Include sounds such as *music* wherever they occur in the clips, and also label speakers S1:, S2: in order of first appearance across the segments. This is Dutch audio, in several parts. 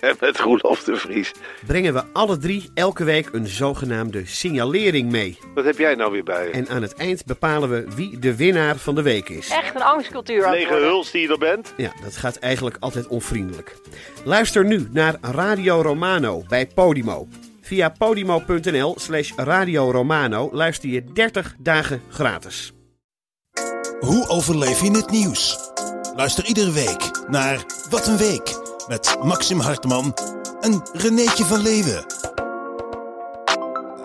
S1: En *laughs* met Roelof de Vries.
S2: brengen we alle drie elke week een zogenaamde signalering mee.
S1: Wat heb jij nou weer bij je?
S2: En aan het eind bepalen we wie de winnaar van de week is.
S3: Echt een angstcultuur. aan het
S1: Lege
S3: worden.
S1: huls die je er bent?
S2: Ja, dat gaat eigenlijk altijd onvriendelijk. Luister nu naar Radio Romano bij Podimo. Via podimo.nl slash Radio Romano luister je 30 dagen gratis.
S4: Hoe overleef je het nieuws? Luister iedere week naar Wat een Week met Maxim Hartman en Renéetje van Leeuwen.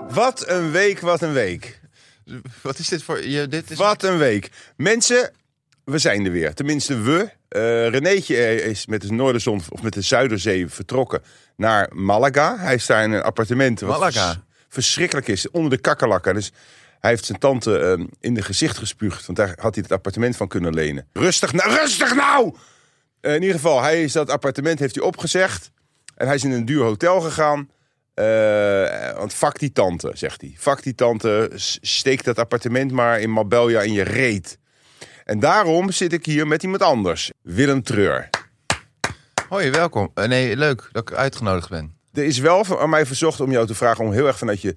S5: Wat een week, wat een week.
S6: Wat is dit voor... Je, dit is...
S5: Wat een week. Mensen, we zijn er weer. Tenminste, we. Eh Renéetje is met de Noorderzon of met de Zuiderzee vertrokken naar Malaga. Hij is daar in een appartement. Wat
S6: Malaga?
S5: vers- verschrikkelijk is. Onder de kakkerlakken. Dus hij heeft zijn tante eh, in de gezicht gespuugd. Want daar had hij het appartement van kunnen lenen. Rustig nou! Rustig nou! Eh, in ieder geval, hij is dat appartement heeft hij opgezegd. En hij is in een duur hotel gegaan. Eh, want fuck die tante, zegt hij. Fuck die tante, s- steek dat appartement maar in Marbella in je reet. En daarom zit ik hier met iemand anders. Willem Treur.
S6: Hoi, welkom. Eh, nee, leuk dat ik uitgenodigd ben.
S5: Er is wel van- aan mij verzocht om jou te vragen om heel erg vanuit je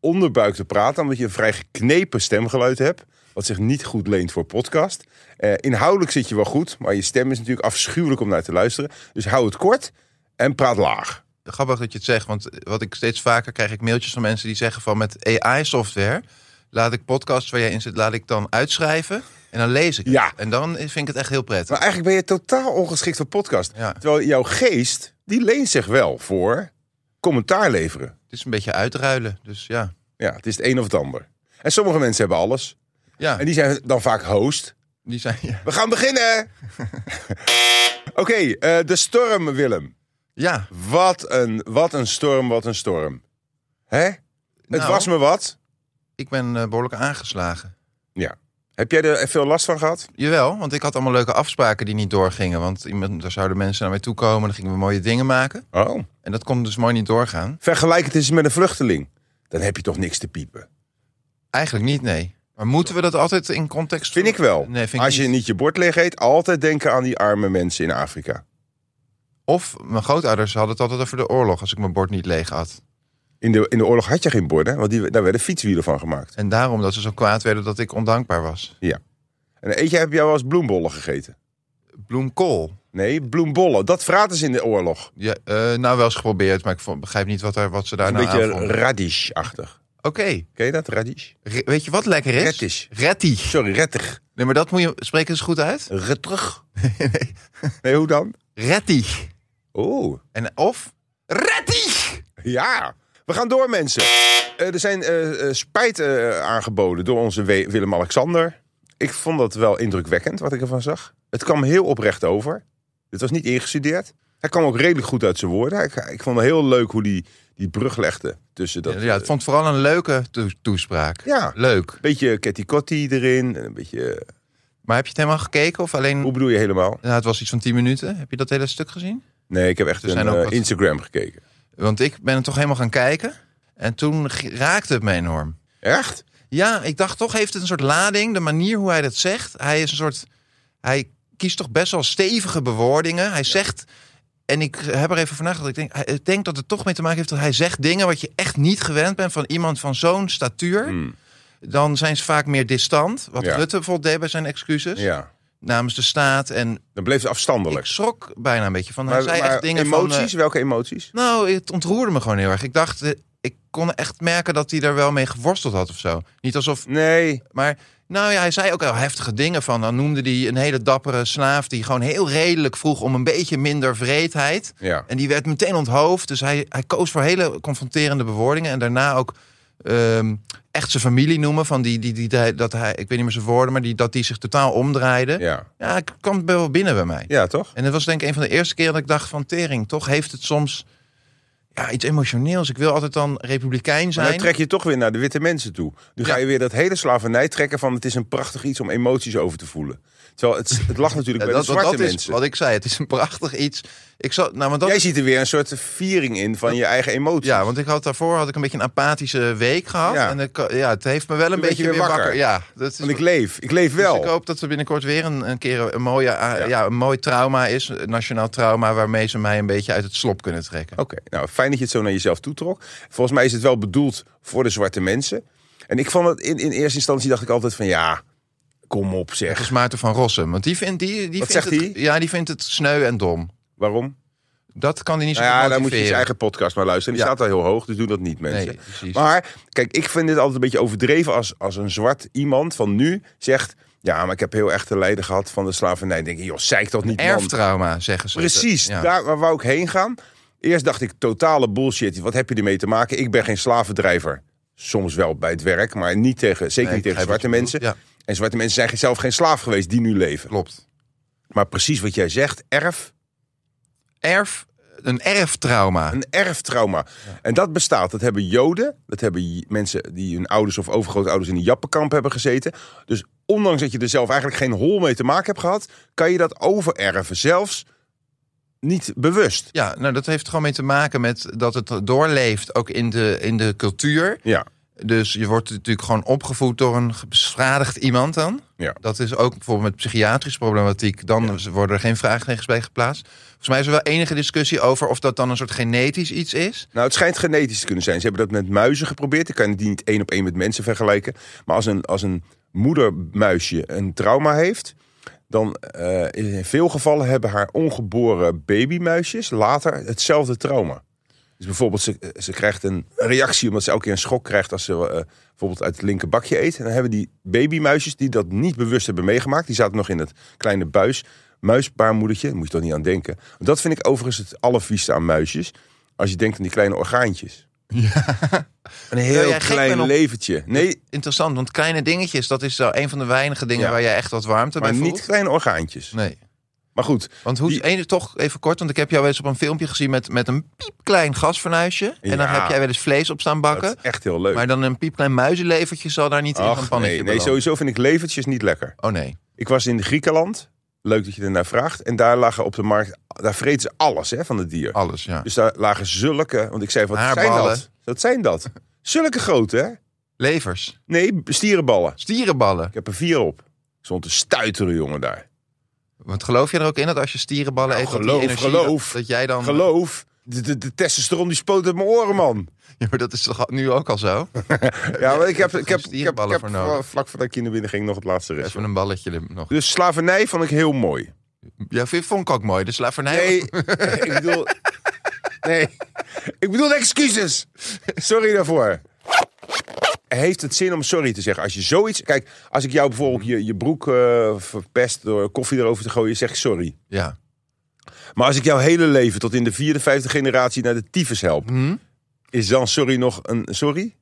S5: onderbuik te praten. Omdat je een vrij geknepen stemgeluid hebt. Wat zich niet goed leent voor podcast. Eh, inhoudelijk zit je wel goed, maar je stem is natuurlijk afschuwelijk om naar te luisteren. Dus hou het kort en praat laag.
S6: Grappig dat je het zegt, want wat ik steeds vaker krijg ik mailtjes van mensen die zeggen van met AI-software laat ik podcasts waar jij in zit, laat ik dan uitschrijven en dan lees ik het.
S5: Ja.
S6: En dan vind ik het echt heel prettig.
S5: Maar eigenlijk ben je totaal ongeschikt voor podcast.
S6: Ja.
S5: Terwijl jouw geest, die leent zich wel voor commentaar leveren.
S6: Het is een beetje uitruilen, dus ja.
S5: Ja, het is het een of het ander. En sommige mensen hebben alles.
S6: Ja,
S5: En die zijn dan vaak host.
S6: die zijn... Ja,
S5: We gaan beginnen! *laughs* Oké, eh, de storm, Willem.
S6: ja
S5: Wat een, wat een storm, wat een storm. Hè? Het
S6: Nou.
S5: was me wat.
S6: ik ben eh, behoorlijk aangeslagen.
S5: Ja. Heb jij er veel last van gehad?
S6: Jawel, want ik had allemaal leuke afspraken die niet doorgingen. Want iemand, daar zouden mensen naar mij toe komen, dan gingen we mooie dingen maken.
S5: Oh.
S6: En dat kon dus mooi niet doorgaan.
S5: Vergelijk het eens met een vluchteling. Dan heb je toch niks te piepen.
S6: Eigenlijk niet, nee. Maar moeten we dat altijd in context...
S5: Vind ik wel.
S6: Nee, vind ik
S5: Als je niet je bord leeg eet, altijd denken aan die arme mensen in Afrika.
S6: Of mijn grootouders hadden het altijd over de oorlog als ik mijn bord niet leeg had.
S5: In de, in de oorlog had je geen borden, want die, daar werden fietswielen van gemaakt.
S6: En daarom dat ze zo kwaad werden dat ik ondankbaar was.
S5: En eet jij, heb jij wel eens bloembollen gegeten?
S6: Bloemkool.
S5: Nee, bloembollen. Dat vraten ze in de oorlog.
S6: Ja, eh, nou, wel eens geprobeerd, maar ik vond- begrijp niet wat, daar, wat ze daar
S5: een
S6: nou aan
S5: beetje
S6: vonden.
S5: radish-achtig.
S6: Oké,
S5: Ken je dat, radish?
S6: Re- weet je wat lekker is?
S5: Rettig.
S6: Rettig.
S5: Sorry, rettig.
S6: Nee, maar dat moet je... Spreek eens goed uit. *laughs*
S5: Rettig. Nee, hoe dan?
S6: Rettig.
S5: Oeh,
S6: En of... Rettig!
S5: ja. We gaan door, mensen. Eh, er zijn eh, eh, spijt eh, aangeboden door onze We- Willem-Alexander. Ik vond dat wel indrukwekkend, wat ik ervan zag. Het kwam heel oprecht over. Het was niet ingestudeerd. Hij kwam ook redelijk goed uit zijn woorden. Ik, ik vond het heel leuk hoe die, die brug legde tussen dat... eh,
S6: ja, ik vond het vooral een leuke to- toespraak.
S5: Ja.
S6: Leuk.
S5: eh, beetje Ketty Kotti erin. en Een beetje, eh,
S6: Maar heb je het helemaal gekeken? Of alleen...
S5: hoe bedoel je helemaal?
S6: Nou, het was iets van 10 minuten. Heb je dat hele stuk gezien?
S5: Nee, ik heb echt
S6: Er
S5: een
S6: zijn ook
S5: eh,
S6: wat-
S5: Instagram gekeken.
S6: Want ik ben het toch helemaal gaan kijken. En toen g- raakte het me enorm.
S5: Echt?
S6: Ja, ik dacht toch heeft het een soort lading. De manier hoe hij dat zegt. Hij is een soort... Hij kiest toch best wel stevige bewoordingen. Hij zegt... En ik heb er even vandaag dat ik denk, hij- ik denk dat het toch mee te maken heeft dat hij zegt dingen wat je echt niet gewend bent van iemand van zo'n statuur.
S5: Hmm.
S6: Dan zijn ze vaak meer distant. Wat
S5: Ja.
S6: Rutte bijvoorbeeld deed bij zijn excuses
S5: Ja.
S6: namens de staat. En
S5: Dan bleef het
S6: ik
S5: afstandelijk.
S6: schrok bijna een beetje van. Hij
S5: Maar,
S6: zei
S5: maar
S6: echt dingen
S5: emoties?
S6: van... eh,
S5: Welke emoties?
S6: nou, het ontroerde me gewoon heel erg. Ik dacht, eh, ik kon echt merken dat hij er wel mee geworsteld had of zo. Niet alsof,
S5: Nee.
S6: maar nou ja, hij zei ook wel heftige dingen van. Dan noemde hij een hele dappere slaaf die gewoon heel redelijk vroeg om een beetje minder vreedheid.
S5: Ja.
S6: En die werd meteen onthoofd. Dus hij, hij koos voor hele confronterende bewoordingen. En daarna ook ehm, echt zijn familie noemen. Van die, die, die, die- dat hij, ik weet niet meer zijn woorden, maar die, dat die zich totaal omdraaide.
S5: Ja.
S6: Ja, ik kwam wel binnen bij mij.
S5: Ja, toch?
S6: En dat was denk ik een van de eerste keer dat ik dacht van tering. Toch heeft het soms... ja, iets emotioneels. Ik wil altijd dan republikein
S5: Maar dan
S6: zijn.
S5: trek je toch weer naar de witte mensen toe. Nu ga
S6: Ja.
S5: je weer dat hele slavernij trekken van het is een prachtig iets om emoties over te voelen. Terwijl het, het lag natuurlijk
S6: Ja,
S5: bij
S6: Eh, dat,
S5: de
S6: want
S5: zwarte
S6: dat is
S5: mensen.
S6: wat ik zei. Het is een prachtig iets. Ik zal, nou, want dat
S5: Jij
S6: is-
S5: ziet er weer een soort viering in van je eigen emoties.
S6: ja, want ik had daarvoor had ik een beetje een apathische week gehad.
S5: Ja.
S6: En ik, ja, het heeft me wel een
S5: Toen werd je
S6: beetje
S5: weer
S6: weer wakker.
S5: wakker.
S6: Ja, dat is,
S5: Want ik leef. Ik leef wel.
S6: Dus ik hoop dat er binnenkort weer een, een keer een, mooie, ah,
S5: Ja.
S6: ja. een mooi trauma is. Een nationaal trauma waarmee ze mij een beetje uit het slop kunnen trekken.
S5: Oké, nou fijn dat je het zo naar jezelf toetrok. Volgens mij is het wel bedoeld voor de zwarte mensen. En ik vond het in, in eerste instantie dacht ik altijd van ja, kom op
S6: Dat
S5: zeg.
S6: is Maarten van Rossum. Want die vindt, die, die
S5: Wat
S6: vindt
S5: zegt
S6: het,
S5: hij?
S6: Ja, die vindt het sneu en dom.
S5: Waarom?
S6: Dat kan hij niet zo
S5: Nou ja,
S6: goed
S5: dan moet je
S6: motiveren.
S5: zijn eigen podcast maar luisteren. Die
S6: Ja.
S5: staat al heel hoog, dus doe dat niet mensen.
S6: Nee, precies.
S5: Maar kijk, ik vind dit altijd een beetje overdreven als, als een zwart iemand van nu zegt... Ja, maar ik heb heel echt te lijden gehad van de slavernij. Dan denk ik, joh, zeik dat niet, man.
S6: Erftrauma, zeggen ze.
S5: Precies,
S6: Ja.
S5: daar waar wou ik heen gaan. Eerst dacht ik, totale bullshit. Wat heb je ermee te maken? Ik ben geen slavendrijver. Soms wel bij het werk, maar niet tegen, zeker
S6: Nee,
S5: niet
S6: ik
S5: tegen
S6: begrijp wat
S5: zwarte
S6: je bedoelt.
S5: mensen.
S6: Ja,
S5: En zwarte mensen zijn zelf geen slaaf geweest die nu leven.
S6: klopt.
S5: Maar precies wat jij zegt, erf,
S6: Erf, een erftrauma.
S5: een erftrauma. En dat bestaat. Dat hebben Joden, dat hebben j- mensen die hun ouders of overgrootouders in een jappenkamp hebben gezeten. Dus ondanks dat je er zelf eigenlijk geen hol mee te maken hebt gehad, kan je dat overerven. Zelfs niet bewust.
S6: Ja, nou dat heeft gewoon mee te maken met dat het doorleeft ook in de, in de cultuur.
S5: Ja.
S6: Dus je wordt natuurlijk gewoon opgevoed door een beschadigd iemand dan.
S5: Ja.
S6: Dat is ook bijvoorbeeld met psychiatrische problematiek. Dan worden er geen vraagtekens bij geplaatst. Volgens mij is er wel enige discussie over of dat dan een soort genetisch iets is.
S5: Nou, het schijnt genetisch te kunnen zijn. Ze hebben dat met muizen geprobeerd. Ik kan die niet één op één met mensen vergelijken. Maar als een, als een moedermuisje een trauma heeft... dan eh, in veel gevallen hebben haar ongeboren babymuisjes later hetzelfde trauma. Dus bijvoorbeeld, ze, ze krijgt een reactie omdat ze elke keer een schok krijgt... als ze eh, bijvoorbeeld uit het linker bakje eet. En dan hebben die babymuisjes die dat niet bewust hebben meegemaakt... die zaten nog in het kleine buis, muisbaarmoedertje. Daar moet je toch niet aan denken. Dat vind ik overigens het allervieste aan muisjes... Als je denkt aan die kleine orgaantjes. Een heel
S6: Terwijl Nou, jij gek
S5: klein
S6: bent op-
S5: leventje. Nee,
S6: Interessant, want kleine dingetjes, dat is wel een van de weinige dingen
S5: Ja.
S6: waar jij echt wat warmte
S5: maar
S6: bij voelt.
S5: niet kleine orgaantjes.
S6: Nee.
S5: Maar goed,
S6: Want hoe
S5: Die-
S6: ene, toch even kort, want ik heb jou wel eens op een filmpje gezien met, met een piepklein gasfornuisje. En dan
S5: Ja.
S6: heb jij wel eens vlees op staan
S5: dat is
S6: bakken.
S5: echt heel leuk.
S6: Maar dan een piepklein muizenlevertje zal daar niet in een
S5: Ach,
S6: pannetje
S5: nee, nee,
S6: belanden.
S5: sowieso vind ik levertjes niet lekker.
S6: Oh nee.
S5: Ik was in Griekenland. Leuk dat je ernaar vraagt. En daar lagen op de markt, daar vreten ze alles hè, van het dier.
S6: Alles, ja.
S5: Dus daar lagen zulke, want ik zei wat zijn
S6: Ah. Haarballen.
S5: dat? Wat zijn dat? Zulke grote hè?
S6: Levers.
S5: Nee, stierenballen.
S6: Stierenballen.
S5: Ik heb er vier op. Ik stond te stuiteren jongen daar.
S6: Want geloof je er ook in dat als je stierenballen
S5: Nou,
S6: eet, dat
S5: geloof,
S6: die energie,
S5: geloof.
S6: Dat, dat jij dan...
S5: Geloof, de, de, de testosteron die spoot uit mijn oren man.
S6: *laughs* Ja, maar dat is toch al- nu ook al
S5: *laughs*
S6: zo?
S5: Ja, maar ik heb,
S6: er
S5: ik heb,
S6: gewoon
S5: ik heb, ik
S6: stierenballen
S5: heb
S6: voor nodig.
S5: vlak voordat ik hier naar binnen ging nog het laatste restje.
S6: Even een balletje er nog.
S5: Dus slavernij vond ik heel mooi.
S6: Ja, vind, vond ik ook mooi. De slavernij...
S5: Nee, ik bedoel... Nee, ik bedoel excuses. Sorry daarvoor. Heeft het zin om sorry te zeggen? Als je zoiets... Kijk, als ik jou bijvoorbeeld je, je broek eh, verpest door koffie erover te gooien, zeg ik sorry.
S6: Ja.
S5: Oh Maar als ik jouw hele leven tot in de vierde, vijfde generatie naar de tyfus help,
S6: Mhm.
S5: is dan sorry nog een sorry?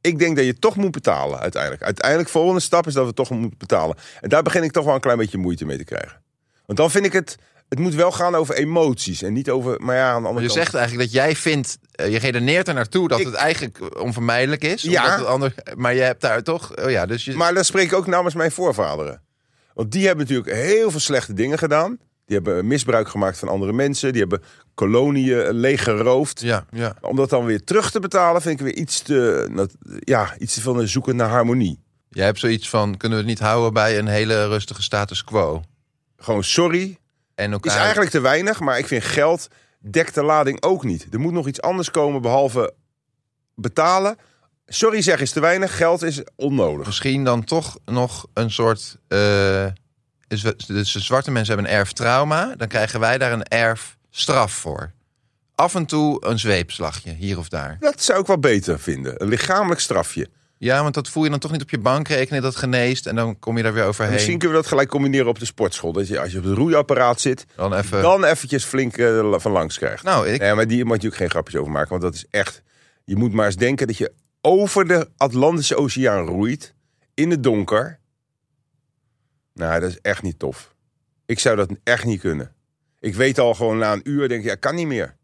S5: Ik denk dat je toch moet betalen uiteindelijk. Uiteindelijk, volgende stap is dat we toch moeten betalen. En daar begin ik toch wel een klein beetje moeite mee te krijgen. Want dan vind ik het, het moet wel gaan over emoties en niet over, maar ja, aan de
S6: Maar
S5: andere
S6: je
S5: kant.
S6: zegt eigenlijk dat jij vindt... eh, je redeneert er naartoe dat
S5: Ik-
S6: het eigenlijk onvermijdelijk is.
S5: Ja.
S6: omdat het ander, maar je hebt daar toch... Oh ja, dus je,
S5: Maar dan spreek ik ook namens mijn voorvaderen. Want die hebben natuurlijk heel veel slechte dingen gedaan. Die hebben misbruik gemaakt van andere mensen. Die hebben koloniën leeggeroofd.
S6: ja, ja.
S5: Om dat dan weer terug te betalen vind ik weer iets te, nat- ja, iets te veel naar zoeken naar harmonie.
S6: Jij hebt zoiets van, kunnen we het niet houden bij een hele rustige status quo?
S5: Gewoon sorry,
S6: En
S5: is
S6: elkaar...
S5: eigenlijk te weinig, maar ik vind geld dekt de lading ook niet. Er moet nog iets anders komen behalve betalen. Sorry zeggen is te weinig, geld is onnodig.
S6: misschien dan toch nog een soort. eh, is we- dus de zwarte mensen hebben een erftrauma. Dan krijgen wij daar een erfstraf voor. Af en toe een zweepslagje, hier of daar.
S5: Dat zou ik wel beter vinden. Een lichamelijk strafje.
S6: Ja, want dat voel je dan toch niet op je bankrekening, dat geneest. En dan kom je daar weer overheen.
S5: Misschien kunnen we dat gelijk combineren op de sportschool. Dat je als je op het roeiapparaat zit,
S6: Dan even.
S5: dan eventjes flink eh, van langs krijgt.
S6: Nou, ik,
S5: Nee, maar die moet je ook geen grapjes over maken. Want dat is echt. Je moet maar eens denken dat je over de Atlantische Oceaan roeit. In het donker. Nou, dat is echt niet tof. Ik zou dat echt niet kunnen. Ik weet al gewoon na een uur, denk ik, ja, kan niet meer.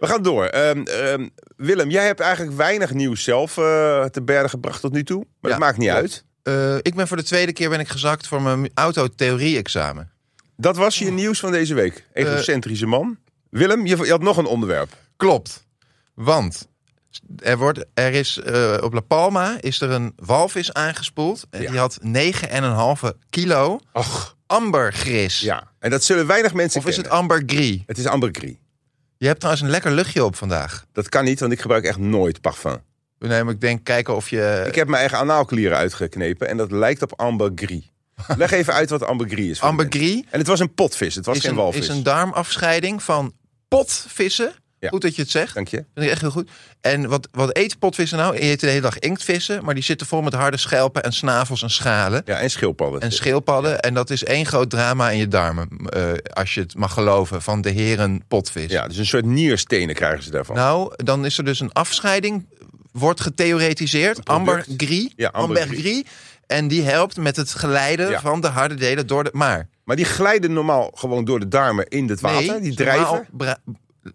S5: We gaan door. Ehm, ehm, Willem, jij hebt eigenlijk weinig nieuws zelf eh, te bergen gebracht tot nu toe. Maar
S6: Ja,
S5: dat maakt niet
S6: klopt.
S5: uit.
S6: Eh, ik ben voor de tweede keer ben ik gezakt voor mijn autotheorie-examen.
S5: Dat was je nieuws van deze week.
S6: Eh,
S5: Egocentrische man. Willem, je, je had nog een onderwerp.
S6: Klopt. Want er, wordt, er is, eh, op La Palma is er een walvis aangespoeld. En
S5: Ja.
S6: Die had 9,5 kilo
S5: Ach,
S6: ambergris.
S5: ja. En dat zullen weinig mensen
S6: Of is het
S5: kennen.
S6: ambergris?
S5: Het is ambergris.
S6: Je hebt trouwens een lekker luchtje op vandaag.
S5: Dat kan niet, want ik gebruik echt nooit parfum.
S6: Nee, maar ik denk kijken of je...
S5: Ik heb mijn eigen anaalklieren uitgeknepen en dat lijkt op
S6: *laughs*
S5: ambergris. Leg even uit wat ambergris is. voor de mensen.
S6: Ambergris
S5: En het was een potvis, het was
S6: is
S5: geen
S6: een,
S5: walvis.
S6: is een darmafscheiding van potvissen.
S5: Ja.
S6: Goed dat je het zegt.
S5: Dank je.
S6: Vind ik echt heel goed. En wat, wat eten potvissen nou? Die eten de hele dag inktvissen, maar die zitten vol met harde schelpen en snavels en schalen.
S5: Ja, en schildpadden.
S6: En schildpadden. En dat is één groot drama in je darmen. eh, als je het mag geloven van de heren potvis.
S5: ja, dus een soort nierstenen krijgen ze daarvan.
S6: Nou, dan is er dus een afscheiding. Wordt getheoretiseerd. Amber Gris.
S5: Ja, Amber
S6: Amber
S5: Gris.
S6: Gris. En die helpt met het geleiden
S5: Ja.
S6: van de harde delen door de. Maar.
S5: Maar die glijden normaal gewoon door de darmen in het water.
S6: nee,
S5: die
S6: normaal
S5: drijven.
S6: bra-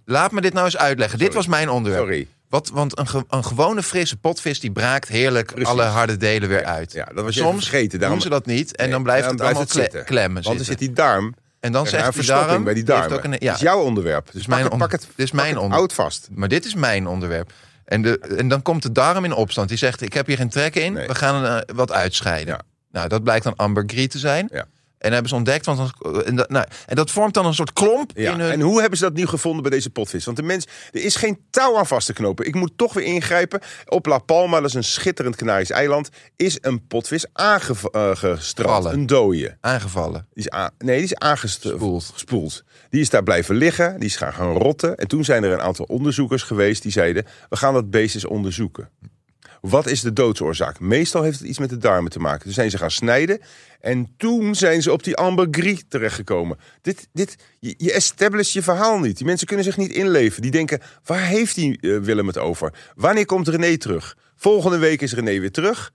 S6: Laat me dit nou eens uitleggen. Dit was mijn onderwerp.
S5: Sorry.
S6: Wat, want een, ge- een gewone frisse potvis die braakt heerlijk
S5: Precies.
S6: alle harde delen weer uit.
S5: Ja, dat was je even
S6: Soms
S5: vergeten. Daarom...
S6: doen ze dat niet en
S5: Nee,
S6: dan blijft
S5: daarom
S6: het allemaal kle-
S5: zitten.
S6: klemmen
S5: Want dan
S6: zitten.
S5: zit die darm.
S6: en dan
S5: er
S6: zegt
S5: een
S6: die
S5: verstopping
S6: darm,
S5: bij die
S6: die heeft
S5: darmen.
S6: ook een-
S5: Dat
S6: ja.
S5: is jouw onderwerp. Dus
S6: mijn
S5: pak, het,
S6: on-
S5: pak het,
S6: dit is
S5: pak
S6: mijn
S5: het
S6: onder-
S5: oud vast.
S6: Maar dit is mijn onderwerp. En, de, en dan komt de darm in opstand. Die zegt, ik heb hier geen trek in,
S5: Nee.
S6: we gaan eh, wat uitscheiden.
S5: Ja.
S6: Nou, dat blijkt dan ambergris te zijn.
S5: Ja.
S6: En hebben ze ontdekt, want dan, en, dat, nou, en dat vormt dan een soort klomp
S5: Ja.
S6: in hun...
S5: En hoe hebben ze dat nu gevonden bij deze potvis? Want de mens, er is geen touw aan vast te knopen. Ik moet toch weer ingrijpen. Op La Palma, dat is een schitterend Canarisch eiland, is een potvis aangestrand.
S6: Vallen.
S5: een dooie.
S6: aangevallen.
S5: Die is aan- nee, die is aangespoeld.
S6: Spoeld.
S5: Gespoeld. Die is daar blijven liggen, die is gaan, gaan rotten. En toen zijn er een aantal onderzoekers geweest die zeiden... we gaan dat beest eens onderzoeken. Wat is de doodsoorzaak? Meestal heeft het iets met de darmen te maken. Toen zijn ze gaan snijden en toen zijn ze op die ambergris terechtgekomen. Dit, dit, je, je establish je verhaal niet. Die mensen kunnen zich niet inleven. Die denken, waar heeft die eh, Willem het over? Wanneer komt René terug? Volgende week is René weer terug.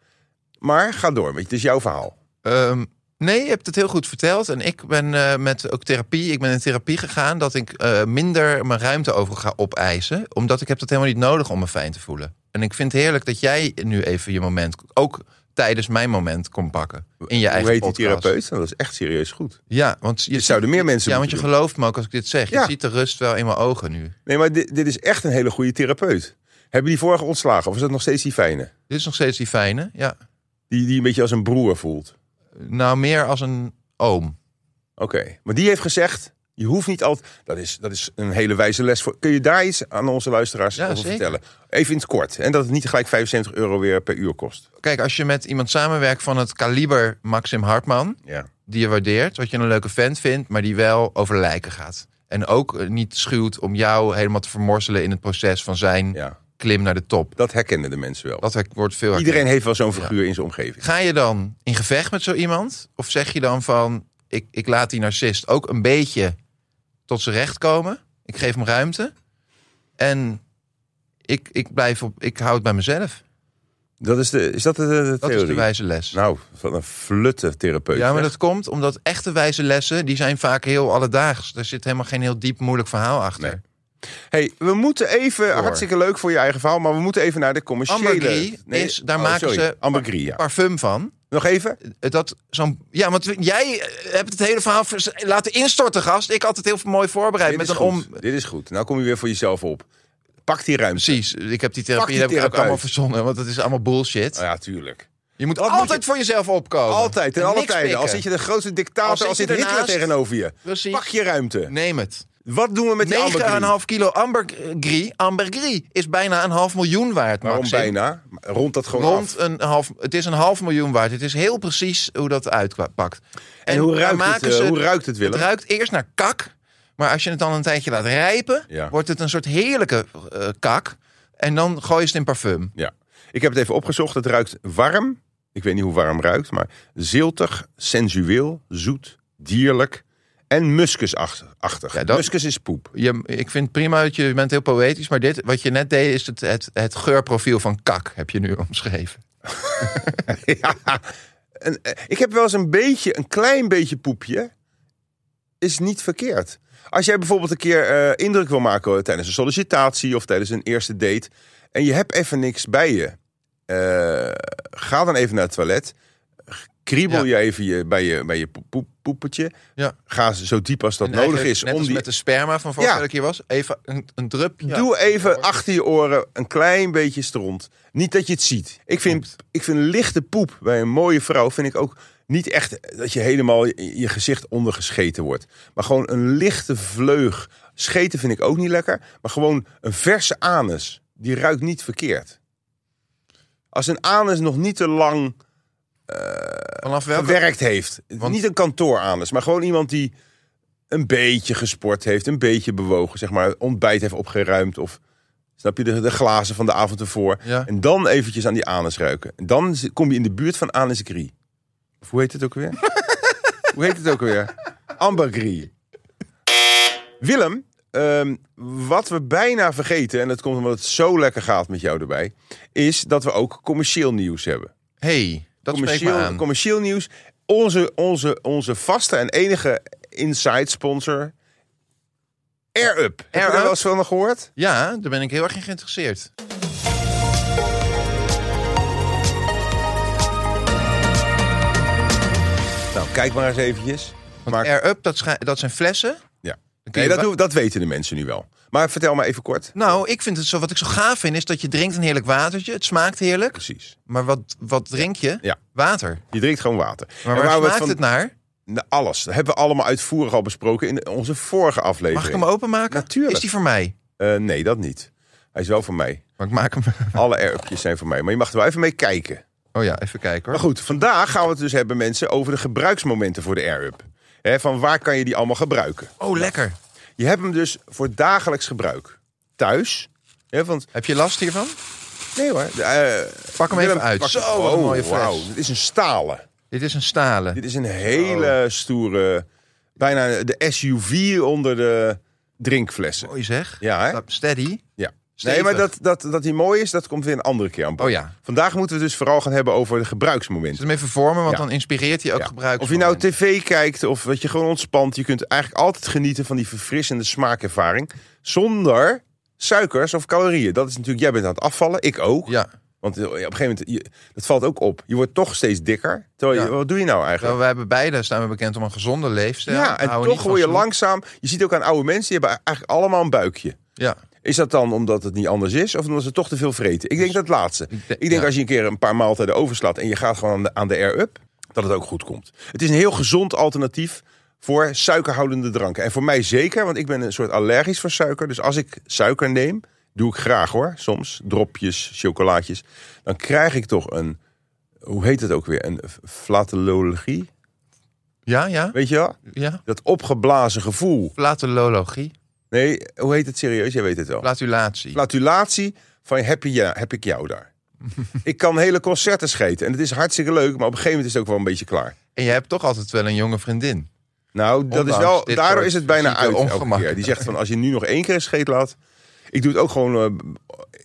S5: Maar ga door, want het is jouw verhaal.
S6: Ehm, nee, je hebt het heel goed verteld. En ik ben eh, met ook therapie. Ik ben in therapie gegaan dat ik eh, minder mijn ruimte over ga opeisen. Omdat ik heb dat helemaal niet nodig om me fijn te voelen. En ik vind het heerlijk dat jij nu even je moment, ook tijdens mijn moment, kon pakken. In je eigen
S5: Hoe heet die
S6: podcast.
S5: therapeut? Nou, dat is echt serieus goed.
S6: Ja, want je
S5: Dit zouden meer mensen
S6: Ja, want
S5: moeten
S6: je gelooft me ook als ik dit zeg.
S5: Ja.
S6: Je ziet de rust wel in mijn ogen nu.
S5: Nee, maar dit, dit is echt een hele goede therapeut. Hebben die vorige ontslagen? Of is dat nog steeds die fijne?
S6: Dit is nog steeds die fijne. Ja.
S5: Die, die een beetje als een broer voelt.
S6: Nou, meer als een oom.
S5: Oké. Maar die heeft gezegd, je hoeft niet altijd... Dat is, dat is een hele wijze les. Voor. Kun je daar iets aan onze luisteraars
S6: Ja,
S5: over
S6: zeker.
S5: vertellen? Even in het kort. En dat het niet gelijk 75 euro weer per uur kost.
S6: Kijk, als je met iemand samenwerkt van het kaliber Maxim Hartman.
S5: Ja.
S6: die je waardeert, wat je een leuke vent vindt, maar die wel over lijken gaat. En ook eh, niet schuwt om jou helemaal te vermorselen in het proces van zijn
S5: ja.
S6: klim naar de top.
S5: Dat herkennen de mensen wel.
S6: Dat hek- wordt veel
S5: Iedereen
S6: herkend.
S5: heeft wel zo'n figuur in zijn omgeving.
S6: Ga je dan in gevecht met zo iemand? Of zeg je dan van, ik, ik laat die narcist ook een beetje tot zijn recht komen. Ik geef hem ruimte. En ik, ik, blijf op, ik hou het bij mezelf.
S5: Dat is, de, is dat de, de theorie?
S6: Dat is de wijze les.
S5: Nou, van een flutte therapeut.
S6: Ja, maar
S5: zeg.
S6: dat komt omdat echte wijze lessen, die zijn vaak heel alledaags. Daar zit helemaal geen heel diep moeilijk verhaal achter.
S5: Nee. Hey, we moeten even,
S6: Door.
S5: hartstikke leuk voor je eigen verhaal, maar we moeten even naar de commerciële... oh,
S6: Ambergris is- daar maken ze-
S5: Ambergris, ja.
S6: Parfum van.
S5: Nog even?
S6: dat zo'n. Ja, want jij eh, hebt het hele verhaal vers- laten instorten, gast. Ik had het heel mooi voorbereid
S5: Dit
S6: met
S5: is
S6: een
S5: goed.
S6: om.
S5: Dit is goed. Nou kom je weer voor jezelf op. Pak die ruimte.
S6: Precies, ik heb die
S5: Pak
S6: therapie
S5: die
S6: heb ik ook
S5: therapeut.
S6: allemaal verzonnen, want dat is allemaal bullshit.
S5: Oh ja, tuurlijk.
S6: Je moet
S5: Wat moet
S6: altijd
S5: je-
S6: voor jezelf opkomen.
S5: Altijd, in
S6: En
S5: alle
S6: niks
S5: tijden.
S6: pikken.
S5: Al zit je de grootste
S6: Al
S5: dictator,
S6: zit
S5: al zit
S6: je
S5: Hitler
S6: ernaast.
S5: tegenover je.
S6: Precies.
S5: Pak je ruimte.
S6: Neem het.
S5: Wat doen we met die Ambergris?
S6: 9,5 kilo ambergris. Ambergris is bijna een half miljoen waard.
S5: Waarom
S6: Maxim.
S5: bijna? Rond dat gewoon af.
S6: Rond een half, het is een half miljoen waard. Het is heel precies hoe dat uitpakt.
S5: En, hoe,
S6: daar
S5: ruikt het,
S6: maken
S5: eh,
S6: ze-
S5: hoe ruikt het, Willem?
S6: Het ruikt eerst naar kak. Maar als je het dan een tijdje laat rijpen,
S5: Ja.
S6: wordt het een soort heerlijke eh, kak. En dan gooi je het in parfum.
S5: Ja. Ik heb het even opgezocht. Het ruikt warm. Ik weet niet hoe warm ruikt, maar ziltig, sensueel, zoet, dierlijk en muskusachtig.
S6: Ja, dat-
S5: Muskus is
S6: *laughs*
S5: poep.
S6: Je, ik vind prima dat je, je bent heel poëtisch, maar dit wat je net deed is het, het, het geurprofiel van kak, heb je nu *laughs* omschreven.
S5: ja. en, eh, ik heb wel eens een beetje, een klein beetje poepje. Is niet verkeerd. Als jij bijvoorbeeld een keer eh, indruk wil maken tijdens een sollicitatie of tijdens een eerste date. en je hebt even niks bij je. eh, ga dan even naar het toilet. Kriebel
S6: Ja.
S5: je even je, bij je, bij je poep- poep- poepetje.
S6: Ja.
S5: Ga zo diep als dat
S6: En
S5: nodig
S6: even,
S5: is.
S6: Net
S5: Om
S6: als
S5: die,
S6: met de sperma van vorige
S5: Ja.
S6: keer was. Even een, een drupje.
S5: Doe even achter je oren een klein beetje stront. Niet dat je het ziet. Ik vind, ik vind lichte poep bij een mooie vrouw vind ik ook niet echt dat je helemaal je je gezicht ondergescheten wordt. Maar gewoon een lichte vleug. Scheten vind ik ook niet lekker. Maar gewoon een verse anus. Die ruikt niet verkeerd. Als een anus nog niet te lang
S6: Vanaf welke...
S5: gewerkt heeft.
S6: Want-
S5: Niet een kantooranus, maar gewoon iemand die een beetje gesport heeft, een beetje bewogen, zeg maar, ontbijt heeft opgeruimd of snap je de, de glazen van de avond ervoor.
S6: Ja.
S5: En dan eventjes aan die anus ruiken. En dan zi- kom je in de buurt van anus gris. Of hoe heet het ook
S6: *laughs*
S5: weer? hoe heet het ook weer? Amber gris. Willem, ehm, wat we bijna vergeten, en dat komt omdat het zo lekker gaat met jou erbij, is dat we ook commercieel nieuws hebben
S6: hey, dat spreekt me
S5: commercieel,
S6: aan.
S5: commercieel nieuws. Onze, onze, onze vaste en enige inside sponsor. AirUp. Heb je
S6: Air
S5: daar wel
S6: Up?
S5: eens van gehoord?
S6: Ja, daar ben ik heel erg in geïnteresseerd.
S5: Nou, kijk maar eens eventjes. Maar,
S6: Maar... Air Up, dat, scha- dat zijn flessen.
S5: ja.
S6: kun
S5: nee,
S6: je
S5: dat,
S6: wa-
S5: doen- dat weten de mensen nu wel. Maar vertel maar even kort.
S6: Nou, ik vind het zo, wat ik zo gaaf vind, is dat je drinkt een heerlijk watertje. Het smaakt heerlijk.
S5: Precies.
S6: Maar wat, wat drink je?
S5: Ja.
S6: Water.
S5: Je drinkt gewoon water.
S6: Maar
S5: En
S6: waar
S5: waar we
S6: smaakt het naar?
S5: Nou, Alles. Dat hebben we allemaal uitvoerig al besproken in onze vorige aflevering.
S6: Mag ik hem openmaken?
S5: Natuurlijk.
S6: Is die voor mij?
S5: Eh, nee, dat niet. Hij is wel van mij.
S6: Maar ik maak hem...
S5: *laughs* Alle AirUpjes zijn van mij. Maar je mag er wel even mee kijken.
S6: Oh ja, even kijken
S5: Maar
S6: hoor.
S5: goed, vandaag gaan we het dus hebben, mensen, over de gebruiksmomenten voor de AirUp. Hè, van waar kan je die allemaal gebruiken?
S6: Oh, lekker.
S5: Je hebt hem dus voor dagelijks gebruik. Thuis. Hè, want,
S6: Heb je last hiervan?
S5: nee hoor. de, eh,
S6: Pak hem even
S5: Willem,
S6: uit.
S5: pak-
S6: Zo, wat een
S5: Oh,
S6: mooie fles.
S5: wauw, Dit is een stalen.
S6: Dit is een stalen.
S5: Dit is een hele
S6: Oh.
S5: stoere, bijna de SUV onder de drinkflessen.
S6: Mooi zeg.
S5: Ja, hè?
S6: Stap- Steady.
S5: Ja. Nee,
S6: Stevig.
S5: maar dat, dat, dat die mooi is, dat komt weer een andere keer aan bod.
S6: Oh ja.
S5: Vandaag moeten we het dus vooral gaan hebben over de gebruiksmomenten.
S6: Zet hem even voor me, want
S5: Ja.
S6: dan inspireert hij ook
S5: Ja.
S6: gebruik.
S5: Of je nou tv kijkt of dat je gewoon ontspant. Je kunt eigenlijk altijd genieten van die verfrissende smaakervaring. Zonder suikers of calorieën. Dat is natuurlijk, jij bent aan het afvallen, ik ook.
S6: Ja,
S5: Want eh, op een gegeven moment, je, dat valt ook op. Je wordt toch steeds dikker. Terwijl je,
S6: Ja.
S5: wat doe je nou eigenlijk?
S6: terwijl wij hebben beide staan we bekend om een gezonde leefstijl.
S5: ja, en
S6: Houden
S5: toch
S6: niet van
S5: word je
S6: snoep.
S5: langzaam. Je ziet ook aan oude mensen, die hebben eigenlijk allemaal een buikje.
S6: Ja,
S5: Is dat dan omdat het niet anders is of omdat ze toch te veel vreten? Ik denk dat laatste.
S6: Ik denk-
S5: Ik denk
S6: ja.
S5: als je een keer een paar maaltijden overslaat en je gaat gewoon aan de, aan de air-up, dat het ook goed komt. Het is een heel gezond alternatief voor suikerhoudende dranken. En voor mij zeker, want ik ben een soort allergisch voor suiker. Dus als ik suiker neem, doe ik graag hoor, soms dropjes, chocolaatjes. Dan krijg ik toch een, hoe heet het ook weer, een f- flatulologie,
S6: ja, ja.
S5: weet je wel?
S6: ja.
S5: Dat opgeblazen gevoel.
S6: Flatulologie.
S5: Nee, hoe heet het serieus? Jij weet het wel.
S6: Flatulatie.
S5: flatulatie van heb, je, ja, heb ik jou
S6: *laughs*
S5: daar. ik kan hele concerten scheten en het is hartstikke leuk, maar op een gegeven moment is het ook wel een beetje klaar.
S6: En jij hebt toch altijd wel een jonge vriendin.
S5: Nou, dat is
S6: Ondanks
S5: wel,
S6: dit
S5: daardoor
S6: soort
S5: is het bijna
S6: fysieke
S5: uit. Elke
S6: ongemak.
S5: keer. Die zegt van als je nu nog één keer een scheet laat. Ik doe het ook gewoon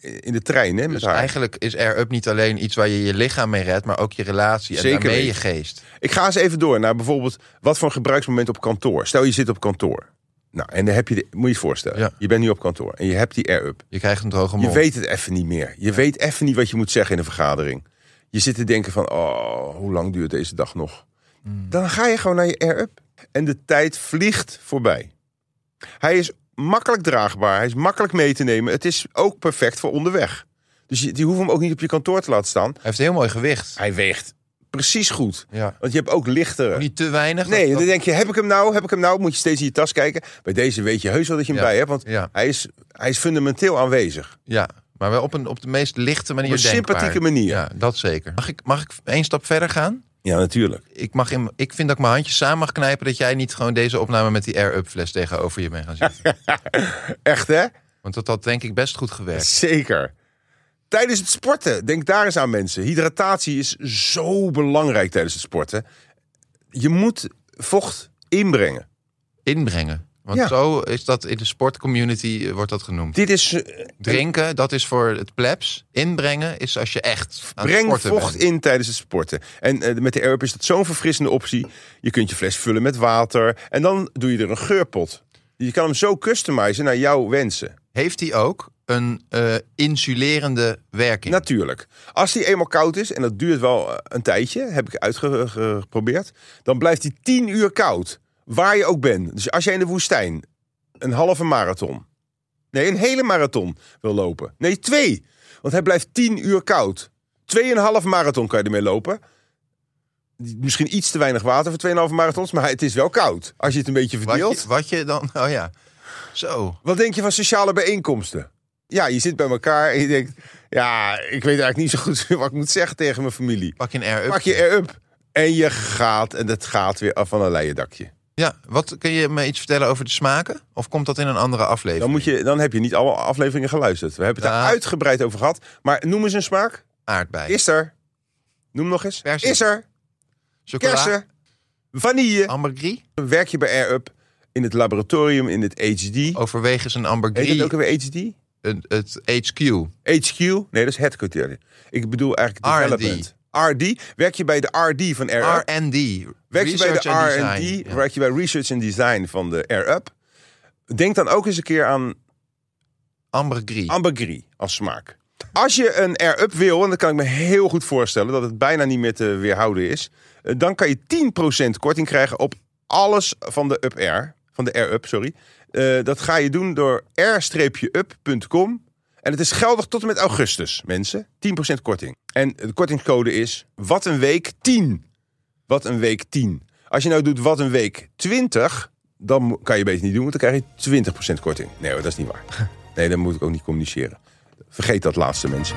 S5: eh, in de trein hè, met
S6: Dus
S5: haar.
S6: eigenlijk is Air Up niet alleen iets waar je je lichaam mee redt, maar ook je relatie en
S5: Zeker
S6: daarmee je
S5: weten.
S6: geest.
S5: Ik ga eens even door naar bijvoorbeeld wat voor een gebruiksmoment op kantoor. Stel je zit op kantoor. Nou, en dan heb je, de, moet je je voorstellen.
S6: Ja.
S5: Je bent nu op kantoor en je hebt die air-up.
S6: Je krijgt een droge
S5: Je
S6: mond.
S5: weet het even niet meer. Je weet even niet wat je moet zeggen in een vergadering. Je zit te denken van, oh, hoe lang duurt deze dag nog?
S6: Hmm.
S5: Dan ga je gewoon naar je air-up. En de tijd vliegt voorbij. Hij is makkelijk draagbaar. Hij is makkelijk mee te nemen. Het is ook perfect voor onderweg. Dus je, die hoeft hem ook niet op je kantoor te laten staan.
S6: Hij heeft een heel mooi gewicht.
S5: Hij weegt precies goed.
S6: Ja.
S5: Want je hebt ook lichtere.
S6: Niet te weinig.
S5: Nee,
S6: Oh, dat-
S5: dan denk je, heb ik hem nou? Heb ik hem nou? Moet je steeds in je tas kijken. Bij deze weet je heus wel dat je hem
S6: Ja.
S5: bij hebt. Want
S6: Ja.
S5: hij, is, hij is fundamenteel aanwezig.
S6: Ja, maar wel op, een, op de meest lichte manier
S5: Op een
S6: denkbaar.
S5: sympathieke manier.
S6: Ja, dat zeker. Mag ik, mag ik één stap verder gaan?
S5: Ja, natuurlijk.
S6: Ik, mag in, ik vind dat ik mijn handjes samen mag knijpen... dat jij niet gewoon deze opname met die air-up fles tegenover je bent gaan
S5: *laughs*
S6: zitten.
S5: Echt hè?
S6: Want dat had denk ik best goed gewerkt.
S5: Zeker. Tijdens het sporten, denk daar eens aan mensen. Hydratatie is zo belangrijk tijdens het sporten. Je moet vocht inbrengen.
S6: Inbrengen. Want
S5: Ja.
S6: zo is dat in de sportcommunity eh, wordt dat genoemd.
S5: Dit is. eh,
S6: Drinken, dat is voor het plebs. Inbrengen is als je echt aan het
S5: Breng
S6: sporten
S5: vocht
S6: bent.
S5: in tijdens het sporten. En eh, met de Air Up is dat zo'n verfrissende optie. Je kunt je fles vullen met water. En dan doe je er een geurpot. Je kan hem zo customizen naar jouw wensen.
S6: Heeft hij ook een eh, insulerende werking?
S5: Natuurlijk. Als die eenmaal koud is, en dat duurt wel eh, een tijdje, heb ik uitgeprobeerd, dan blijft die 10 uur koud. Waar je ook bent. Dus als jij in de woestijn een halve marathon, nee, een hele marathon wil lopen. Nee, twee. Want hij blijft 10 uur koud. Tweeënhalf marathon kan je ermee lopen. Misschien iets te weinig water voor 2,5 marathons, maar het is wel koud. Als je het een beetje
S6: wat,
S5: verdeelt.
S6: je, wat je dan... *laughs* Oh ja. Zo.
S5: Wat denk je van sociale bijeenkomsten? Ja, je zit bij elkaar en je denkt... Ja, ik weet eigenlijk niet zo goed *laughs* wat ik moet zeggen tegen mijn familie.
S6: Pak je een air-up.
S5: Pak je er-up. En je gaat, en dat gaat weer af van een leien dakje.
S6: Ja, wat kun je me iets vertellen over de smaken? Of komt dat in een andere aflevering?
S5: Dan, moet je, dan heb je niet alle afleveringen geluisterd. We hebben het daar
S6: Ja.
S5: uitgebreid over gehad. Maar noem eens een smaak.
S6: Aardbei.
S5: Is er. Noem nog eens.
S6: Persen.
S5: Is er.
S6: chocola,
S5: Kersen. Vanille.
S6: Ambergris?
S5: Werk je bij air-up in het laboratorium, in het
S6: Oh,
S5: HD.
S6: Overweeg eens een
S5: Heet
S6: ambergris.
S5: dat ook weer HD?
S6: een- het HQ.
S5: HQ, nee, dat is headquarter. Ik bedoel eigenlijk
S6: R&D.
S5: development. RD. Werk je bij de RD van Air Up?
S6: R&D.
S5: Werk je bij
S6: Research
S5: de
S6: and
S5: R&D?
S6: Design. Ja.
S5: Werk je bij Research and Design van de Air Up? Denk dan ook eens een keer aan
S6: Ambergris.
S5: ambergris als smaak. Als je een Air Up wil, en dat kan ik me heel goed voorstellen... dat het bijna niet meer te weerhouden is... eh, dan kan je 10% korting krijgen op alles van de Up Air. Van de Air Up, sorry. Eh, dat ga je doen door air-up.com. En het is geldig tot en met augustus, mensen. 10% korting. En de kortingscode is wat een week 10. Wat een week 10. Als je nou doet wat een week 20, dan mo- kan je beter niet doen, want dan krijg je 20% korting. Nee hoor, dat is niet
S6: *laughs*
S5: waar. Nee, dan moet ik ook niet communiceren. Vergeet dat laatste, mensen.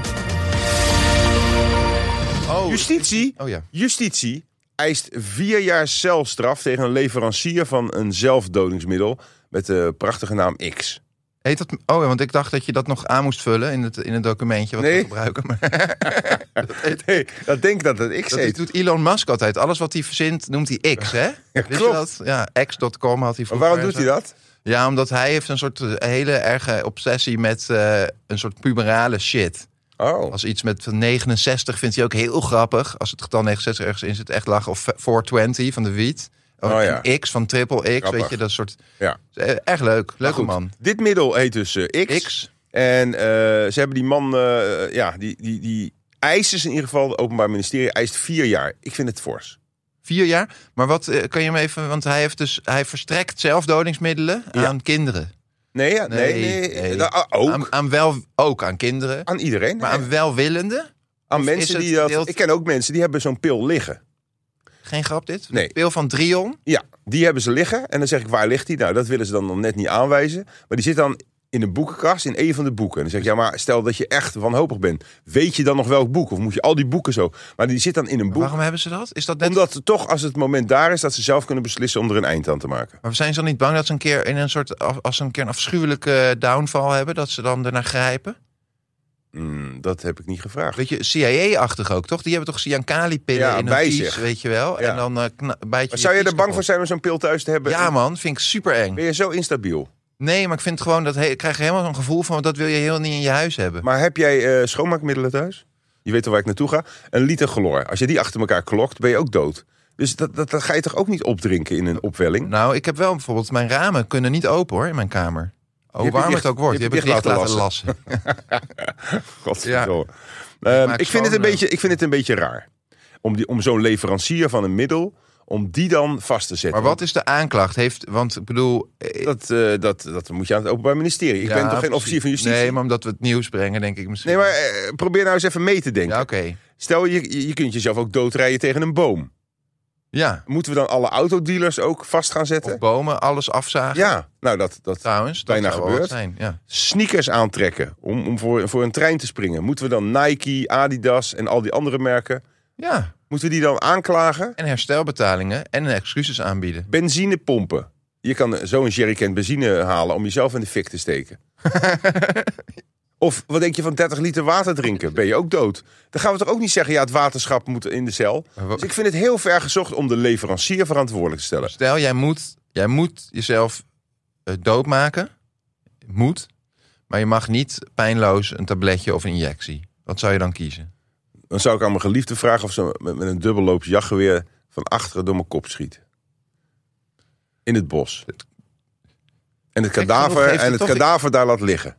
S6: Oh,
S5: Justitie,
S6: oh ja.
S5: justitie eist vier jaar celstraf tegen een leverancier van een zelfdodingsmiddel met de prachtige naam X.
S6: Heet dat, oh ja, want ik dacht dat je dat nog aan moest vullen in het, in het documentje wat
S5: Nee.
S6: we gebruiken.
S5: *laughs*
S6: Maar
S5: Nee, dat denk ik dat het X
S6: dat
S5: heet.
S6: doet Elon Musk altijd. Alles wat hij verzint noemt hij X,
S5: *laughs*
S6: hè? Wist je
S5: klopt.
S6: dat? Ja, X.com had hij
S5: Maar
S6: vroeger.
S5: waarom doet hij dat?
S6: Ja, omdat hij heeft een soort eh, hele erge obsessie met eh, een soort puberale shit.
S5: Oh,
S6: Als iets met 69 vindt hij ook heel grappig. Als het getal 69 ergens in zit, echt lachen. Of 420 van de wiet. Of
S5: Oh ja.
S6: een X van triple X,
S5: Grappig.
S6: weet je, dat soort...
S5: ja.
S6: eh, Echt leuk, leuke
S5: Goed,
S6: man.
S5: Dit middel heet dus eh, X.
S6: X.
S5: En eh, ze hebben die man, eh, ja, die, die, die eist dus in ieder geval, het Openbaar Ministerie eist vier jaar. Ik vind het fors.
S6: Vier jaar. Maar wat eh, kan je hem even. Want hij, heeft dus, hij verstrekt zelfdodingsmiddelen
S5: Ja.
S6: aan kinderen.
S5: Nee, ja, nee, nee. Nou, ah, ook. Aan,
S6: Aan, aan wel, ook aan kinderen.
S5: iedereen.
S6: maar
S5: Ja.
S6: aan welwillenden.
S5: Aan
S6: Of
S5: mensen
S6: is
S5: die
S6: het
S5: dat.
S6: deelt-
S5: Ik ken ook mensen die hebben zo'n pil liggen.
S6: Geen grap dit?
S5: Nee.
S6: De pil van Drion.
S5: Ja, die hebben ze liggen. En dan zeg ik, waar ligt die? Nou, dat willen ze dan nog net niet aanwijzen. Maar die zit dan in een boekenkast in een van de boeken. En dan zeg ik, ja, maar stel dat je echt wanhopig bent. Weet je dan nog welk boek? Of moet je al die boeken zo? Maar die zit dan in een boek.
S6: Waarom hebben ze dat? Is dat net...
S5: Omdat toch, als het moment daar is, dat ze zelf kunnen beslissen om er een eind aan te maken.
S6: Maar zijn ze dan niet bang dat ze een keer in een soort. af- Als ze een keer een afschuwelijke eh, downfall hebben, dat ze dan ernaar grijpen?
S5: Hmm, dat heb ik niet gevraagd.
S6: Weet je, CIA-achtig ook, toch? Die hebben toch Siankali-pillen
S5: Ja,
S6: in
S5: bij
S6: hun kies,
S5: zich.
S6: weet je wel?
S5: Ja.
S6: En dan eh, kna- bijt je
S5: Maar
S6: je
S5: zou je er
S6: kies
S5: bang voor
S6: kapot.
S5: zijn om zo'n pil thuis te hebben?
S6: Ja, man, vind ik super eng.
S5: Ben je zo instabiel?
S6: Nee, maar ik vind het gewoon dat he- ik krijg helemaal zo'n gevoel van dat wil je heel niet in je huis hebben.
S5: Maar heb jij eh, schoonmaakmiddelen thuis? Je weet al waar ik naartoe ga. Een liter chloor. Als je die achter elkaar klokt, ben je ook dood. Dus dat, dat, dat ga je toch ook niet opdrinken in een opwelling?
S6: Nou, ik heb wel bijvoorbeeld mijn ramen kunnen niet open hoor in mijn kamer.
S5: hebt
S6: Hoe
S5: het
S6: warm
S5: dicht-
S6: het ook wordt,
S5: je
S6: je
S5: hebt
S6: hebt het
S5: het
S6: dicht laten,
S5: dicht laten
S6: lassen.
S5: Godverdomme.
S6: Ik
S5: Ehm,
S6: maak
S5: ik, vind het een
S6: schoon, eh.
S5: beetje, ik vind het een beetje raar. Om, die- om zo'n leverancier van een middel, om die dan vast te zetten.
S6: Maar wat is de aanklacht? Heeft, want ik bedoel, eh,
S5: Dat, eh, dat, dat moet je aan het Openbaar Ministerie. Ik
S6: ja,
S5: ben toch geen
S6: precies.
S5: officier van justitie?
S6: Nee, maar omdat we het nieuws brengen, denk ik misschien.
S5: Nee, maar eh, probeer nou eens even mee te denken.
S6: ja, oké.
S5: Stel, je, je je kunt jezelf ook doodrijden tegen een boom.
S6: Ja,
S5: Moeten we dan alle autodealers ook vast gaan zetten?
S6: of bomen, alles afzagen.
S5: Ja, nou dat, dat
S6: Trouwens, dat
S5: Bijna
S6: zou wel wat
S5: gebeurd.
S6: zijn. Ja.
S5: sneakers aantrekken om, om voor, voor een trein te springen. Moeten we dan Nike, Adidas en al die andere merken,
S6: ja,
S5: moeten we die dan aanklagen?
S6: en herstelbetalingen en excuses aanbieden.
S5: Benzinepompen. Je kan zo'n jerrycan benzine halen om jezelf in de fik te steken. of wat denk je van 30 liter water drinken? Ben je ook dood? Dan gaan we toch ook niet zeggen, ja, het waterschap moet in de cel.
S6: Maar wa-
S5: Dus ik vind het heel ver gezocht om de leverancier verantwoordelijk te stellen.
S6: Stel, jij moet, jij moet jezelf eh, doodmaken. Moet. Maar je mag niet pijnloos een tabletje of een injectie. Wat zou je dan kiezen?
S5: Dan zou ik aan mijn geliefde vragen of ze met, met een dubbelloops jachtgeweer van achteren door mijn kop schiet. In het bos. En het
S6: Gek genoeg
S5: kadaver,
S6: heeft
S5: en
S6: het
S5: het
S6: toch-
S5: kadaver daar laat liggen.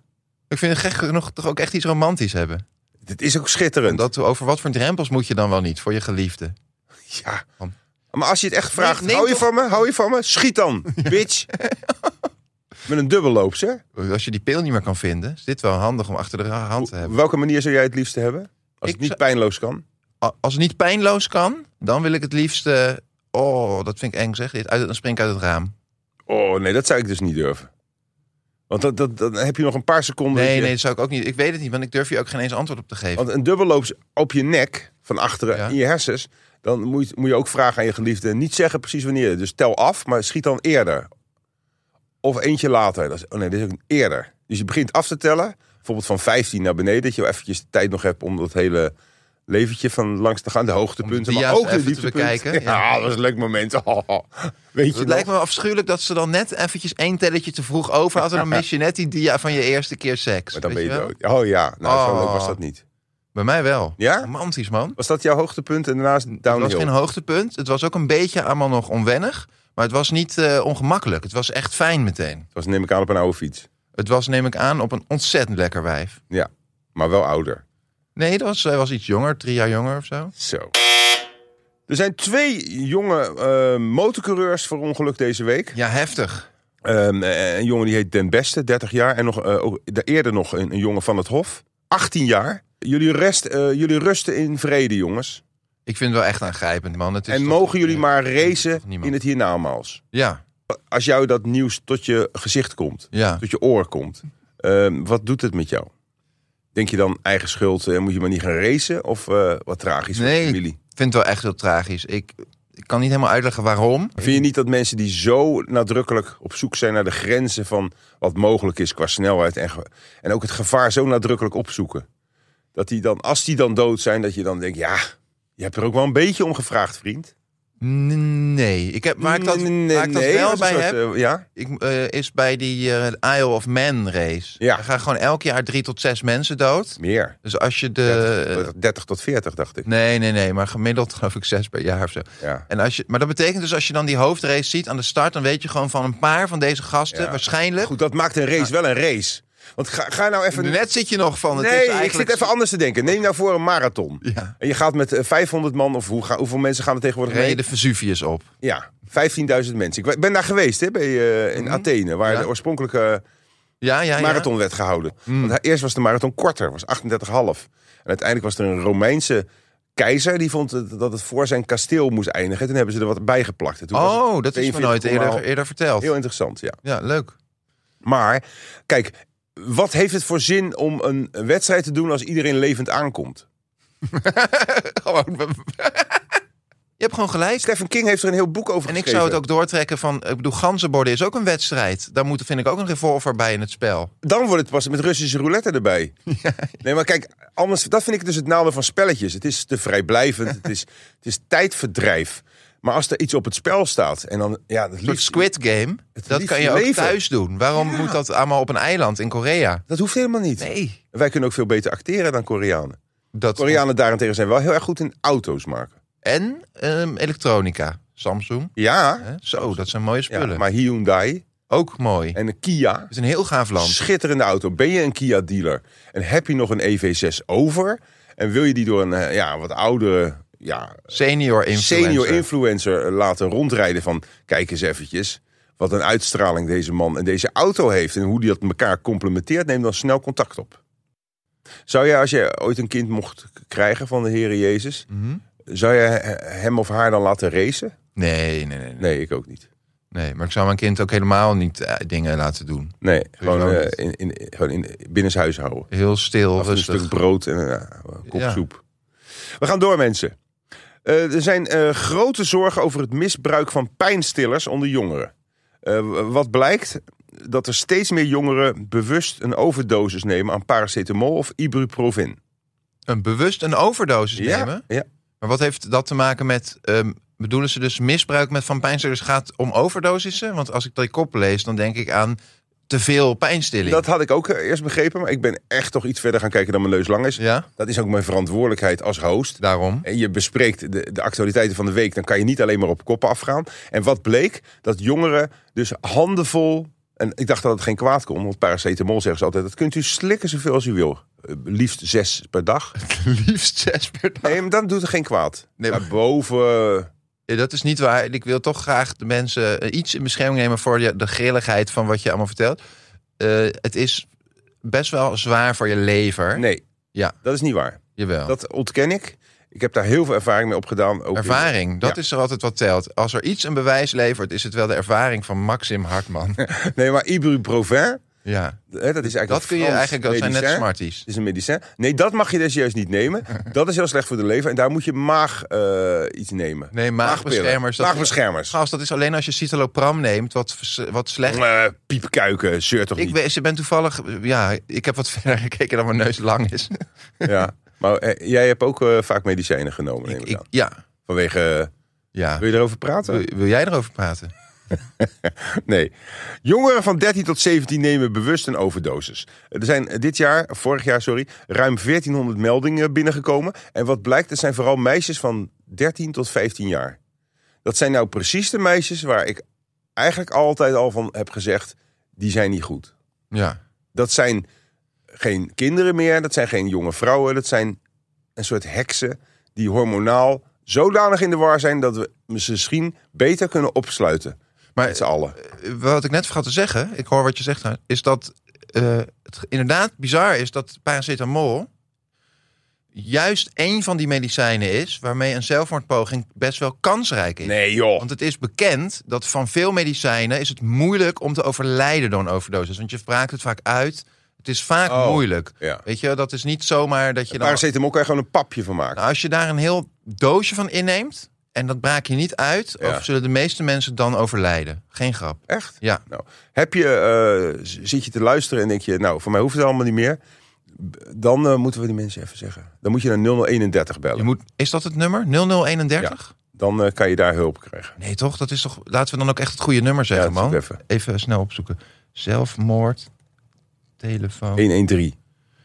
S6: Ik vind het gek genoeg toch ook echt iets romantisch hebben.
S5: Dit is ook schitterend.
S6: Dat, over wat voor drempels moet je dan wel niet voor je geliefde?
S5: Ja. Maar als je het echt vraagt,
S6: neem
S5: hou je
S6: toch-
S5: van me? Hou je van me? Schiet
S6: *laughs*
S5: dan, bitch. Met een dubbelloops, hè?
S6: Als je die pil niet meer kan vinden, is dit wel handig om achter de ra- hand te
S5: Op
S6: hebben.
S5: welke manier zou jij het liefst hebben? Als
S6: Ik
S5: het niet
S6: zou-
S5: pijnloos kan.
S6: A- Als het niet pijnloos kan, dan wil ik het liefst. eh, oh, dat vind ik eng zeg. Dit uit, dan spring ik uit het raam.
S5: Oh nee, dat zou ik dus niet durven. Want dat, dat, dan heb je nog een paar seconden. dat
S6: Nee,
S5: je-
S6: nee, dat zou ik ook niet. Ik weet het niet, want ik durf je ook geen eens antwoord op te geven.
S5: Want een dubbelloops op je nek, van achteren
S6: Ja.
S5: in je hersens. Dan moet je, moet je ook vragen aan je geliefde. Niet zeggen precies wanneer. Dus tel af, maar schiet dan eerder. Of eentje later. Dat is, oh nee, dat is ook eerder. Dus je begint af te tellen. Bijvoorbeeld van 15 naar beneden. Dat je wel eventjes de tijd nog hebt om dat hele leventje van langs te gaan. De hoogtepunten,
S6: Om de
S5: maar
S6: dia's
S5: ook de
S6: even te
S5: dieptepunten. *laughs*
S6: bekijken,
S5: Ja,
S6: ja.
S5: dat is een leuk moment. *laughs* Oh, Weet je
S6: Dus Het
S5: nog?
S6: lijkt me afschuwelijk dat ze dan net eventjes één telletje te vroeg over hadden. Dan mis je net die dia van je eerste keer seks.
S5: Maar dan ben
S6: weet
S5: je
S6: je wel?
S5: dood. Oh ja, nou zo
S6: Oh.
S5: leuk was dat niet.
S6: Bij mij wel.
S5: Ja?
S6: Romantisch, man.
S5: Was dat jouw hoogtepunt en daarnaast
S6: Het was
S5: downhill?
S6: geen hoogtepunt. Het was ook een beetje allemaal nog onwennig. Maar het was niet eh, ongemakkelijk. Het was echt fijn meteen.
S5: Dat was neem ik aan op een oude fiets.
S6: Het was, neem ik aan, op een ontzettend lekker wijf.
S5: Ja, maar wel ouder.
S6: Nee, dat was, zij was iets jonger, drie jaar jonger of zo.
S5: Zo. Er zijn twee jonge eh motorcoureurs verongelukt deze week.
S6: Ja, heftig.
S5: Ehm, eh, een jongen die heet Den Beste, 30 jaar. En nog, eh, ook, da- eerder nog een, een jongen van het Hof, 18 jaar. Jullie, rest, eh, jullie rusten in vrede, jongens.
S6: Ik vind het wel echt aangrijpend, man. Het is
S5: en
S6: toch-
S5: mogen jullie maar racen
S6: toch niemand?
S5: in het hiernamaals.
S6: Ja,
S5: Als jou dat nieuws tot je gezicht komt,
S6: ja.
S5: tot je oor komt. Ehm, wat doet het met jou? Denk je dan eigen schuld en moet je maar niet gaan racen? Of eh, wat tragisch voor
S6: Nee.
S5: de familie?
S6: Ik vind het wel echt heel tragisch. Ik, ik kan niet helemaal uitleggen waarom.
S5: Vind je niet dat mensen die zo nadrukkelijk op zoek zijn naar de grenzen van wat mogelijk is qua snelheid en, ge- en ook het gevaar zo nadrukkelijk opzoeken? Dat die dan, als die dan dood zijn, dat je dan denkt, ja, je hebt er ook wel een beetje om gevraagd, vriend.
S6: N- Nee. Ik heb, waar ik dat, waar ik dat
S5: nee,
S6: wel
S5: als een
S6: bij
S5: soort,
S6: heb,
S5: eh, ja?
S6: ik, eh, is bij die eh, Isle of Man race.
S5: Ja.
S6: Er gaan gewoon elk jaar drie tot zes mensen dood.
S5: Meer.
S6: Dus als je de...
S5: 30, 30 tot 40, dacht ik.
S6: Nee, nee, nee. Maar gemiddeld *laughs* geloof ik zes per jaar of zo.
S5: Ja.
S6: En als je, maar dat betekent dus als je dan die hoofdrace ziet aan de start... dan weet je gewoon van een paar van deze gasten
S5: Ja.
S6: waarschijnlijk...
S5: Goed, dat maakt een race
S6: Nou.
S5: wel een race. Want ga, ga nou even...
S6: Net zit je nog van... Het is
S5: nee, ik
S6: eigenlijk
S5: zit even anders te denken. Neem nou voor een marathon.
S6: Ja.
S5: En je gaat met eh, 500 man, of hoe, ga- hoeveel mensen gaan er tegenwoordig mee?
S6: Reden de Vesuvius op.
S5: Ja, 15.000 mensen. Ik ben daar geweest hè, bij, eh, in Athene, waar
S6: Mhm. Ja.
S5: de oorspronkelijke
S6: Ja, ja, Mhm. ja.
S5: marathon werd gehouden. Want hij- eerst was de marathon korter, was 38,5. En uiteindelijk was er een Romeinse keizer die vond het- dat het voor zijn kasteel moest eindigen. Toen hebben ze er wat bij geplakt. En toen was
S6: Oh,
S5: het
S6: dat is me
S5: 42,5.
S6: nooit eerder, eerder verteld.
S5: Heel interessant, ja.
S6: Ja, leuk.
S5: Maar kijk, wat heeft het voor zin om een wedstrijd te doen als iedereen levend aankomt?
S6: *laughs* Je hebt gewoon gelijk.
S5: Stephen King heeft er een heel boek over
S6: En ik
S5: geschreven.
S6: zou het ook doortrekken van... Ik bedoel, ganzenborden is ook een wedstrijd. Daar moet, vind ik ook een revolver bij in het spel.
S5: Dan wordt het pas met Russische roulette erbij.
S6: *laughs*
S5: Nee, maar kijk, anders, dat vind ik dus het nadeel van spelletjes. Het is te vrijblijvend, het is, het is tijdverdrijf. Maar als er iets op het spel staat en dan, ja, dat
S6: Een soort
S5: liefst,
S6: Squid Game.
S5: het
S6: Dat
S5: liefst
S6: kan je ook
S5: leven.
S6: thuis doen. Waarom
S5: Ja.
S6: moet dat allemaal op een eiland in Korea?
S5: dat hoeft helemaal niet.
S6: Nee.
S5: Wij kunnen ook veel beter acteren dan Koreanen.
S6: Dat
S5: Koreanen daarentegen zijn wel heel erg goed in auto's maken.
S6: En ehm, elektronica. Samsung.
S5: Ja,
S6: Hè? Zo, dat zijn mooie
S5: ja
S6: spullen.
S5: maar Hyundai
S6: Ook mooi. Het
S5: en een Kia,
S6: is een heel gaaf land.
S5: schitterende auto. Ben je een Kia-dealer en heb je nog een EV6 over... en wil je die door een eh, ja, wat oudere... Ja,
S6: Senior influencer.
S5: senior influencer eh, laten rondrijden van kijk eens eventjes wat een uitstraling deze man en deze auto heeft en hoe die dat elkaar complementeert, neem dan snel contact op. Zou jij als jij ooit een kind mocht k- krijgen van de Heere Jezus,
S6: Mhm.
S5: zou jij he- hem of haar dan laten racen?
S6: Nee, nee, nee, nee.
S5: Nee, ik ook niet.
S6: Nee, maar ik zou mijn kind ook helemaal niet eh, dingen laten doen.
S5: Nee, gewoon,
S6: ook
S5: eh,
S6: niet.
S5: in, in, gewoon in, binnenshuis houden.
S6: Heel stil,
S5: Af en toe een
S6: rustig.
S5: stuk brood en eh, een kop
S6: Ja.
S5: soep. We gaan door, mensen. Eh, er zijn eh, grote zorgen over het misbruik van pijnstillers onder jongeren. Eh, wat blijkt? Dat er steeds meer jongeren bewust een overdosis nemen aan paracetamol of ibuprofen.
S6: Een bewust een overdosis nemen.
S5: Ja, ja.
S6: Maar wat heeft dat te maken met... ehm, bedoelen ze dus misbruik met van pijnstillers gaat om overdosissen? Want als ik die kop lees, dan denk ik aan te veel pijnstilling.
S5: Dat had ik ook eh, eerst begrepen, maar ik ben echt toch iets verder gaan kijken dan mijn neus lang is.
S6: Ja,
S5: Dat is ook mijn verantwoordelijkheid als host. *laughs*
S6: daarom.
S5: En je bespreekt de, de actualiteiten van de week, dan kan je niet alleen maar op koppen afgaan. En wat bleek? Dat jongeren dus handenvol eh, En ik dacht dat het geen kwaad kon, want paracetamol zeggen ze altijd... dat kunt u slikken zoveel als u wil. Eh, Liefst zes per dag.
S6: *laughs* Liefst zes per dag.
S5: Nee, maar dan doet het geen kwaad.
S6: Nee, maar-
S5: Daarboven...
S6: Ja, dat is niet waar. Ik wil toch graag de mensen eh, iets in bescherming nemen voor je- de grilligheid van wat je allemaal vertelt. Eh, het is best wel zwaar voor je lever.
S5: Nee.
S6: Ja. Oh.
S5: Dat is niet waar.
S6: Jawel.
S5: Dat ontken ik. Ik heb daar heel veel ervaring mee opgedaan. Ook in-
S6: Ervaring, dat
S5: Ja.
S6: is er altijd wat telt. Als er iets een bewijs levert, is het wel de ervaring van Maxim
S5: *laughs*
S6: Hartman.
S5: Nee, maar ibuprofen,
S6: ja,
S5: hè, dat is eigenlijk
S6: dat kun je
S5: Frans
S6: eigenlijk, dat zijn net
S5: medicijn.
S6: smarties.
S5: Het is een medicijn. Nee, dat mag je dus juist niet
S6: *laughs*
S5: nemen. Dat is heel slecht voor de lever. En daar moet je maag eh, iets nemen.
S6: Nee,
S5: Maagpillen.
S6: maagbeschermers. dat-
S5: Maagbeschermers.
S6: Gast, dat is alleen als je citalopram neemt, wat, vers- wat slecht
S5: Eh, piepkuiken, zeur toch
S6: Ik
S5: niet.
S6: ben, ze ben toevallig, ja, ik heb wat *laughs* verder gekeken dan mijn neus lang is.
S5: Ja. Maar eh, jij hebt ook eh, vaak medicijnen genomen, neem
S6: Ik,
S5: ik
S6: ik- Eh,
S5: aan.
S6: ja,
S5: Vanwege... eh,
S6: ja.
S5: wil je erover praten?
S6: Wil, wil jij erover praten?
S5: Nee. Jongeren van 13 tot 17 nemen bewust een overdosis. Er zijn dit jaar, vorig jaar, sorry, ruim 1400 meldingen binnengekomen. En wat blijkt, het zijn vooral meisjes van 13 tot 15 jaar. Dat zijn nou precies de meisjes waar ik eigenlijk altijd al van heb gezegd, die zijn niet goed.
S6: Ja.
S5: Dat zijn geen kinderen meer, dat zijn geen jonge vrouwen, dat zijn een soort heksen die hormonaal zodanig in de war zijn dat we ze misschien beter kunnen opsluiten.
S6: Maar
S5: Met z'n allen.
S6: eh, wat ik net vergat te zeggen, ik hoor wat je zegt, nou, is dat eh, het inderdaad bizar is dat paracetamol juist één van die medicijnen is waarmee een zelfmoordpoging best wel kansrijk is.
S5: Nee joh.
S6: Want het is bekend dat van veel medicijnen is het moeilijk om te overlijden door een overdosis. Want je spraakt het vaak uit. Het is vaak
S5: Oh,
S6: moeilijk.
S5: ja.
S6: Weet je, dat is niet zomaar dat je dan...
S5: Paracetamol kan je gewoon een papje van maken.
S6: Nou, als je daar een heel doosje van inneemt en dat braak je niet uit...
S5: Ja.
S6: of zullen de meeste mensen dan overlijden. Geen grap.
S5: Echt?
S6: Ja,
S5: Nou, heb je, eh, z- zit je te luisteren en denk je, nou, voor mij hoeft het allemaal niet meer. B- Dan eh, moeten we die mensen even zeggen. Dan moet je naar 0031 bellen.
S6: je moet, is dat het nummer? 0031?
S5: Dan eh, kan je daar hulp krijgen.
S6: Nee toch, dat is toch... Laten we dan ook echt het goede nummer zeggen,
S5: dat
S6: man.
S5: zoek ik even.
S6: snel opzoeken. Zelfmoord, telefoon...
S5: 113.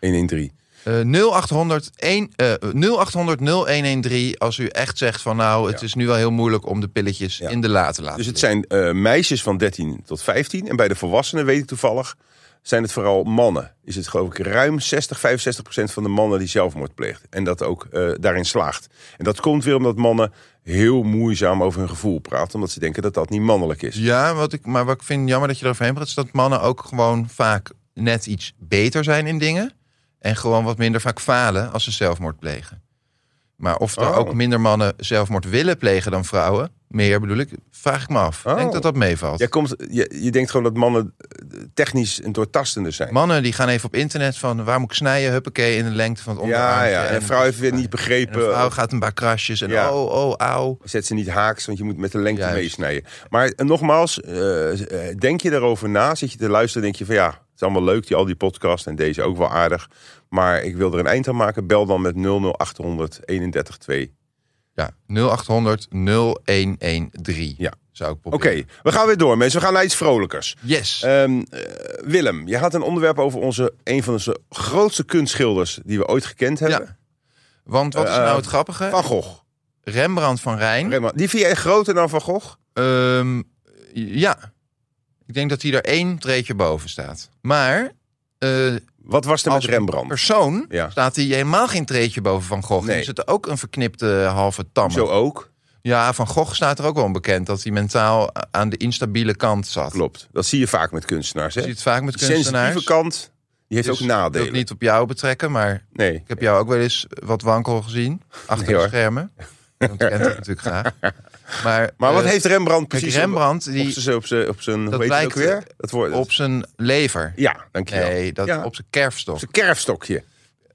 S5: 113.
S6: Eh, 0800, 1, eh, 0800 0113 als u echt zegt van nou, het
S5: Ja.
S6: is nu wel heel moeilijk om de pilletjes
S5: Ja.
S6: in de la te laten.
S5: Dus het
S6: liggen.
S5: zijn eh, meisjes van 13 tot 15. En bij de volwassenen, weet ik toevallig, zijn het vooral mannen. Is het geloof ik ruim 60, 65 procent van de mannen die zelfmoord pleegt. En dat ook eh, daarin slaagt. En dat komt weer omdat mannen heel moeizaam over hun gevoel praten. Omdat ze denken dat dat niet mannelijk is.
S6: Ja, wat ik, maar wat ik vind jammer dat je eroverheen praat, is dat mannen ook gewoon vaak net iets beter zijn in dingen. En gewoon wat minder vaak falen als ze zelfmoord plegen. Maar of er
S5: Oh.
S6: ook minder mannen zelfmoord willen plegen dan vrouwen, meer bedoel ik, vraag ik me af. Ik
S5: Oh.
S6: denk dat dat meevalt.
S5: Jij komt, je, je denkt gewoon dat mannen eh, technisch en doortastender zijn.
S6: Mannen die gaan even op internet van waar moet ik snijden, huppakee, in de lengte van het
S5: ja,
S6: onderarm.
S5: ja. En een vrouw heeft weer niet
S6: En een
S5: begrepen.
S6: vrouw gaat een paar krasjes en
S5: Ja.
S6: oh, oh, auw.
S5: Zet ze niet haaks, want je moet met de lengte
S6: Juist.
S5: meesnijden. Maar eh, nogmaals, eh, eh, denk je daarover na? Zit je te luisteren, denk je van ja, het is allemaal leuk, die, al die podcast en deze ook wel aardig. Maar ik wil er een eind aan maken. Bel dan met 00800 312.
S6: Ja, 0800 0113.
S5: Ja.
S6: Zou ik
S5: Oké,
S6: proberen.
S5: we gaan weer door mensen. We gaan naar iets vrolijkers.
S6: Yes.
S5: Ehm, eh, Willem, je had een onderwerp over onze, een van onze grootste kunstschilders die we ooit gekend hebben.
S6: ja. Want wat is
S5: Eh,
S6: nou het grappige?
S5: Van Gogh.
S6: Rembrandt van Rijn.
S5: Rembrandt. Die vind jij groter dan Van Gogh?
S6: ehm, ja. Ik denk dat hij er één treetje boven staat. Maar eh,
S5: Wat was er
S6: als
S5: met Rembrandt?
S6: persoon
S5: Ja.
S6: staat hij helemaal geen treetje boven Van Gogh.
S5: Nee.
S6: Er zit ook een verknipte eh, halve tam.
S5: Zo ook.
S6: Ja, Van Gogh staat er ook wel onbekend dat hij mentaal a- aan de instabiele kant zat.
S5: Klopt. Dat zie je vaak met kunstenaars. Hè?
S6: Je ziet het vaak met
S5: De sensitieve
S6: kunstenaars.
S5: kant, die heeft
S6: Dus
S5: ook
S6: Ik wil
S5: nadelen.
S6: het niet op jou betrekken, maar
S5: Nee.
S6: Ik heb jou ook wel eens wat wankel gezien. Achter
S5: Nee,
S6: de
S5: hoor.
S6: schermen. Dat kent ik natuurlijk graag. Maar,
S5: Maar wat
S6: eh,
S5: heeft Rembrandt
S6: kijk,
S5: precies op-
S6: Rembrandt
S5: op,
S6: die
S5: zijn- op zijn, op zijn
S6: Dat
S5: hoe heet het ook
S6: lijkt,
S5: weer? Dat woord,
S6: op zijn lever.
S5: ja, dankjewel.
S6: Nee, dat,
S5: Ja.
S6: op zijn kerfstok.
S5: zijn kerfstokje.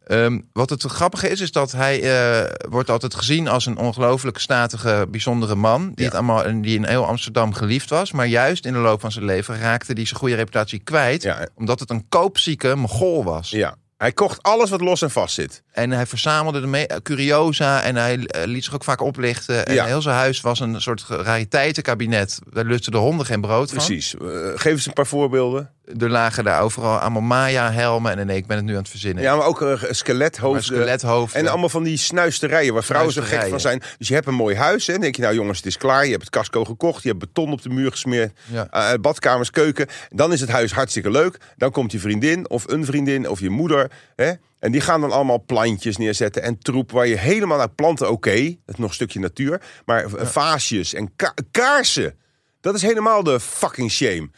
S6: Ehm, wat het grappige is, is dat hij eh, wordt altijd gezien als een ongelooflijk statige, bijzondere man. Die, het allemaal, en die in heel Amsterdam geliefd was. Maar juist in de loop van zijn leven raakte hij zijn goede reputatie kwijt.
S5: Ja.
S6: Omdat het een koopzieke mogol was.
S5: Ja. Hij kocht alles wat los en vast zit.
S6: En hij verzamelde de me- eh, curiosa en hij eh, liet zich ook vaak oplichten. En
S5: Ja.
S6: heel zijn huis was een soort ge- rariteitenkabinet. Daar lusten de honden geen brood van.
S5: Precies. Eh, geef eens een paar voorbeelden.
S6: Er lagen daar overal allemaal Maya-helmen. En nee, ik ben het nu aan het verzinnen.
S5: Ja, maar ook eh, skelethoofden.
S6: Maar skelethoofden.
S5: En allemaal van die snuisterijen waar vrouwen zo gek van
S6: Snuisterijen.
S5: zijn. Dus je hebt een mooi huis. En denk je, nou jongens, het is klaar. Je hebt het casco gekocht. Je hebt beton op de muur gesmeerd.
S6: Ja.
S5: eh, badkamers, keuken. Dan is het huis hartstikke leuk. Dan komt je vriendin of een vriendin of je moeder. Hè? En die gaan dan allemaal plantjes neerzetten en troep waar je helemaal naar planten. Oké, dat is nog een stukje natuur. Maar eh, vaasjes en ka- kaarsen. Dat is helemaal de fucking shame.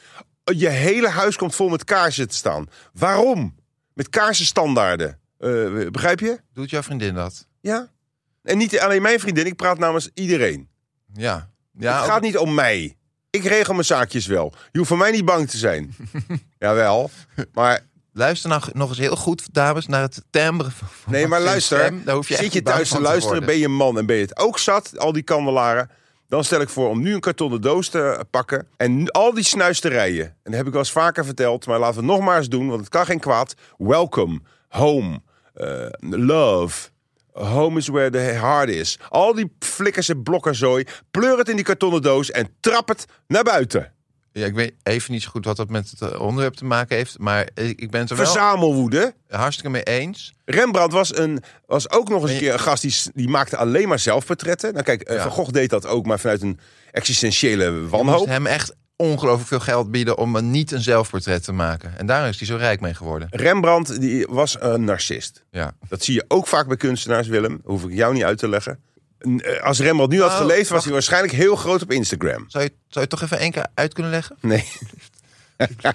S5: Eh, Je hele huis komt vol met kaarsen te staan. Waarom? Met kaarsenstandaarden. Eh, begrijp je?
S6: Doet jouw vriendin dat?
S5: Ja. En niet alleen mijn vriendin, ik praat namens iedereen.
S6: Ja. ja
S5: het
S6: ook-
S5: gaat niet om mij. Ik regel mijn zaakjes wel. Je hoeft voor mij niet bang te zijn. Jawel. Maar,
S6: Luister nou g- nog eens heel goed, dames, naar het timbre. van- van
S5: nee, maar
S6: zijn
S5: luister.
S6: stem. Daar hoef je
S5: zit
S6: echt
S5: je
S6: niet bang
S5: thuis te
S6: van
S5: luisteren,
S6: worden.
S5: ben je man en ben je het ook zat, al die kandelaren. Dan stel ik voor om nu een kartonnen doos te eh, pakken. En nu al die snuisterijen. En dat heb ik wel eens vaker verteld. Maar laten we het nogmaals doen, want het kan geen kwaad. Welcome, home, eh, love. Home is where the heart is. Al die flikkers en blokkenzooi. Pleur het in die kartonnen doos en trap het naar buiten.
S6: Ja, ik weet even niet zo goed wat dat met het eh, onderwerp te maken heeft. Maar ik ik ben het er wel
S5: Verzamelwoede.
S6: hartstikke mee eens.
S5: Rembrandt was, een, was ook nog eens een
S6: je-
S5: keer een gast die, s- die maakte alleen maar zelfportretten. Nou kijk, eh,
S6: Ja.
S5: Van Gogh deed dat ook, maar vanuit een existentiële
S6: Je moest
S5: wanhoop.
S6: hem echt ongelooflijk veel geld bieden om een, niet een zelfportret te maken. En daar is hij zo rijk mee geworden.
S5: Rembrandt die was een narcist.
S6: Ja.
S5: Dat zie je ook vaak bij kunstenaars, Willem. Hoef ik jou niet uit te leggen. N- eh, Als Rembrandt nu had
S6: Nou,
S5: geleefd, was
S6: wacht.
S5: hij waarschijnlijk heel groot op
S6: *laughs*
S5: Instagram.
S6: Zou je, zou je het toch even één keer uit kunnen leggen?
S5: Nee. *laughs*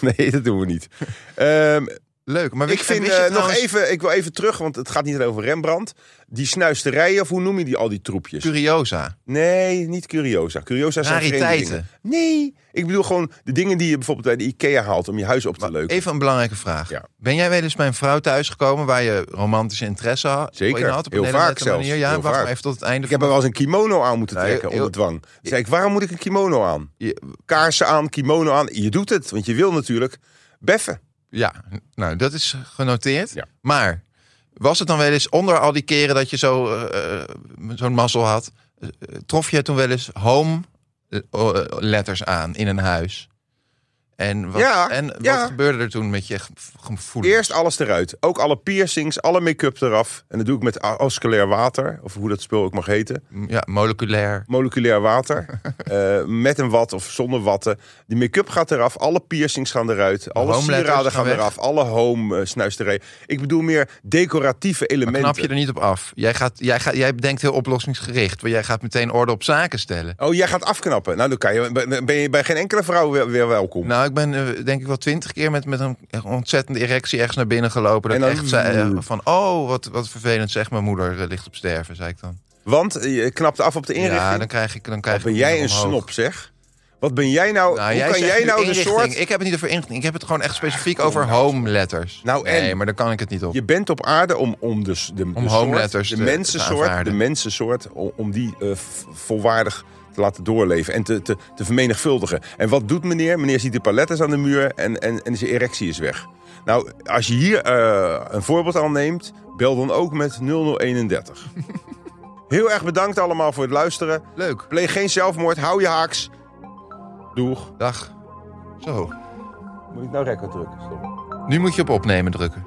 S5: nee, dat doen we niet. Ehm,
S6: Leuk. Maar weet
S5: ik
S6: je- en
S5: vind
S6: wist je
S5: eh, nog
S6: trouwens-
S5: even, ik wil even terug, want het gaat niet alleen over Rembrandt. Die snuisterijen, of hoe noem je die al die troepjes?
S6: Curiosa.
S5: Nee, niet curiosa. Curiosa zijn vreemde
S6: Rariteiten.
S5: dingen. Nee, ik bedoel gewoon de dingen die je bijvoorbeeld bij de Ikea haalt om je huis op te leuken.
S6: Even een belangrijke vraag.
S5: Ja.
S6: Ben jij wel eens bij een vrouw thuisgekomen waar je romantische interesse ha-
S5: Zeker.
S6: in had? Op
S5: Heel
S6: een hele
S5: vaak
S6: nette
S5: zelfs.
S6: manier. Ja,
S5: Heel
S6: wacht
S5: vaak.
S6: maar even tot het einde.
S5: Ik heb er wel eens een kimono aan moeten
S6: Nee,
S5: trekken
S6: heel-
S5: onder dwang. Toen zei ik, waarom moet ik een kimono aan? Kaarsen aan, kimono aan. Je doet het, want je wil natuurlijk beffen.
S6: Ja, nou, dat is genoteerd.
S5: Ja.
S6: Maar was het dan wel eens onder al die keren dat je zo, eh, eh, zo'n mazzel had, eh, eh, trof je toen wel eens home eh, oh, eh, letters aan in een huis? En wat,
S5: Ja,
S6: en wat
S5: ja.
S6: gebeurde er toen met je ge- gevoel?
S5: Eerst alles eruit. Ook alle piercings, alle make-up eraf. En dat doe ik met a- osculair water, of hoe dat spul ook mag heten.
S6: Ja, moleculair.
S5: Moleculair
S6: *laughs*
S5: water. Eh, met een watt of zonder watten. Die make-up gaat eraf. Alle piercings gaan eruit. Alle
S6: home letters
S5: sieraden
S6: gaan
S5: gaan
S6: weg.
S5: eraf. Alle home eh, snuisterijen. Ik bedoel meer decoratieve
S6: Maar
S5: elementen.
S6: knap je er niet op af. Jij, gaat, jij, gaat, jij bedenkt heel oplossingsgericht. Want jij gaat meteen orde op zaken stellen.
S5: Oh, jij gaat afknappen. Nou, dan kan je, ben- ben je bij geen enkele vrouw weer, weer welkom.
S6: Nou, ik ben eh, denk ik wel twintig keer met, met een ontzettende erectie ergens naar binnen gelopen. Dat
S5: En
S6: ik
S5: dan-
S6: echt zei eh, van, oh, wat, wat vervelend zeg, mijn moeder eh, ligt op sterven, zei ik dan.
S5: Want eh, je knapt af op de inrichting.
S6: Ja, dan krijg ik dan krijg
S5: Wat ben
S6: ik
S5: jij een
S6: omhoog.
S5: snop, zeg? Wat ben jij nou?
S6: Nou,
S5: hoe kan
S6: zegt
S5: jij
S6: nu
S5: nou de
S6: inrichting.
S5: soort... Ah,
S6: Ik heb het niet over inrichting, ik heb het gewoon echt specifiek over home letters.
S5: Nou, en?
S6: Nee, maar daar kan ik het niet op.
S5: Je bent op aarde om, om de, s- de, de,
S6: home
S5: soort,
S6: letters
S5: de
S6: te- te
S5: mensensoort, de
S6: aanvaarden.
S5: mensensoort, o- om die eh, v- volwaardig te laten doorleven en te, te, te vermenigvuldigen. En wat doet meneer? Meneer ziet de palettes aan de muur en, en, en zijn erectie is weg. Nou, als je hier eh, een voorbeeld aan neemt, bel dan ook met
S6: *laughs*
S5: 0031. Heel erg bedankt allemaal voor het luisteren.
S6: Leuk.
S5: Pleeg geen zelfmoord, hou je haaks. Doeg.
S6: Dag. Zo,
S5: Moet ik nou record drukken? Stop.
S6: nu moet je op opnemen drukken.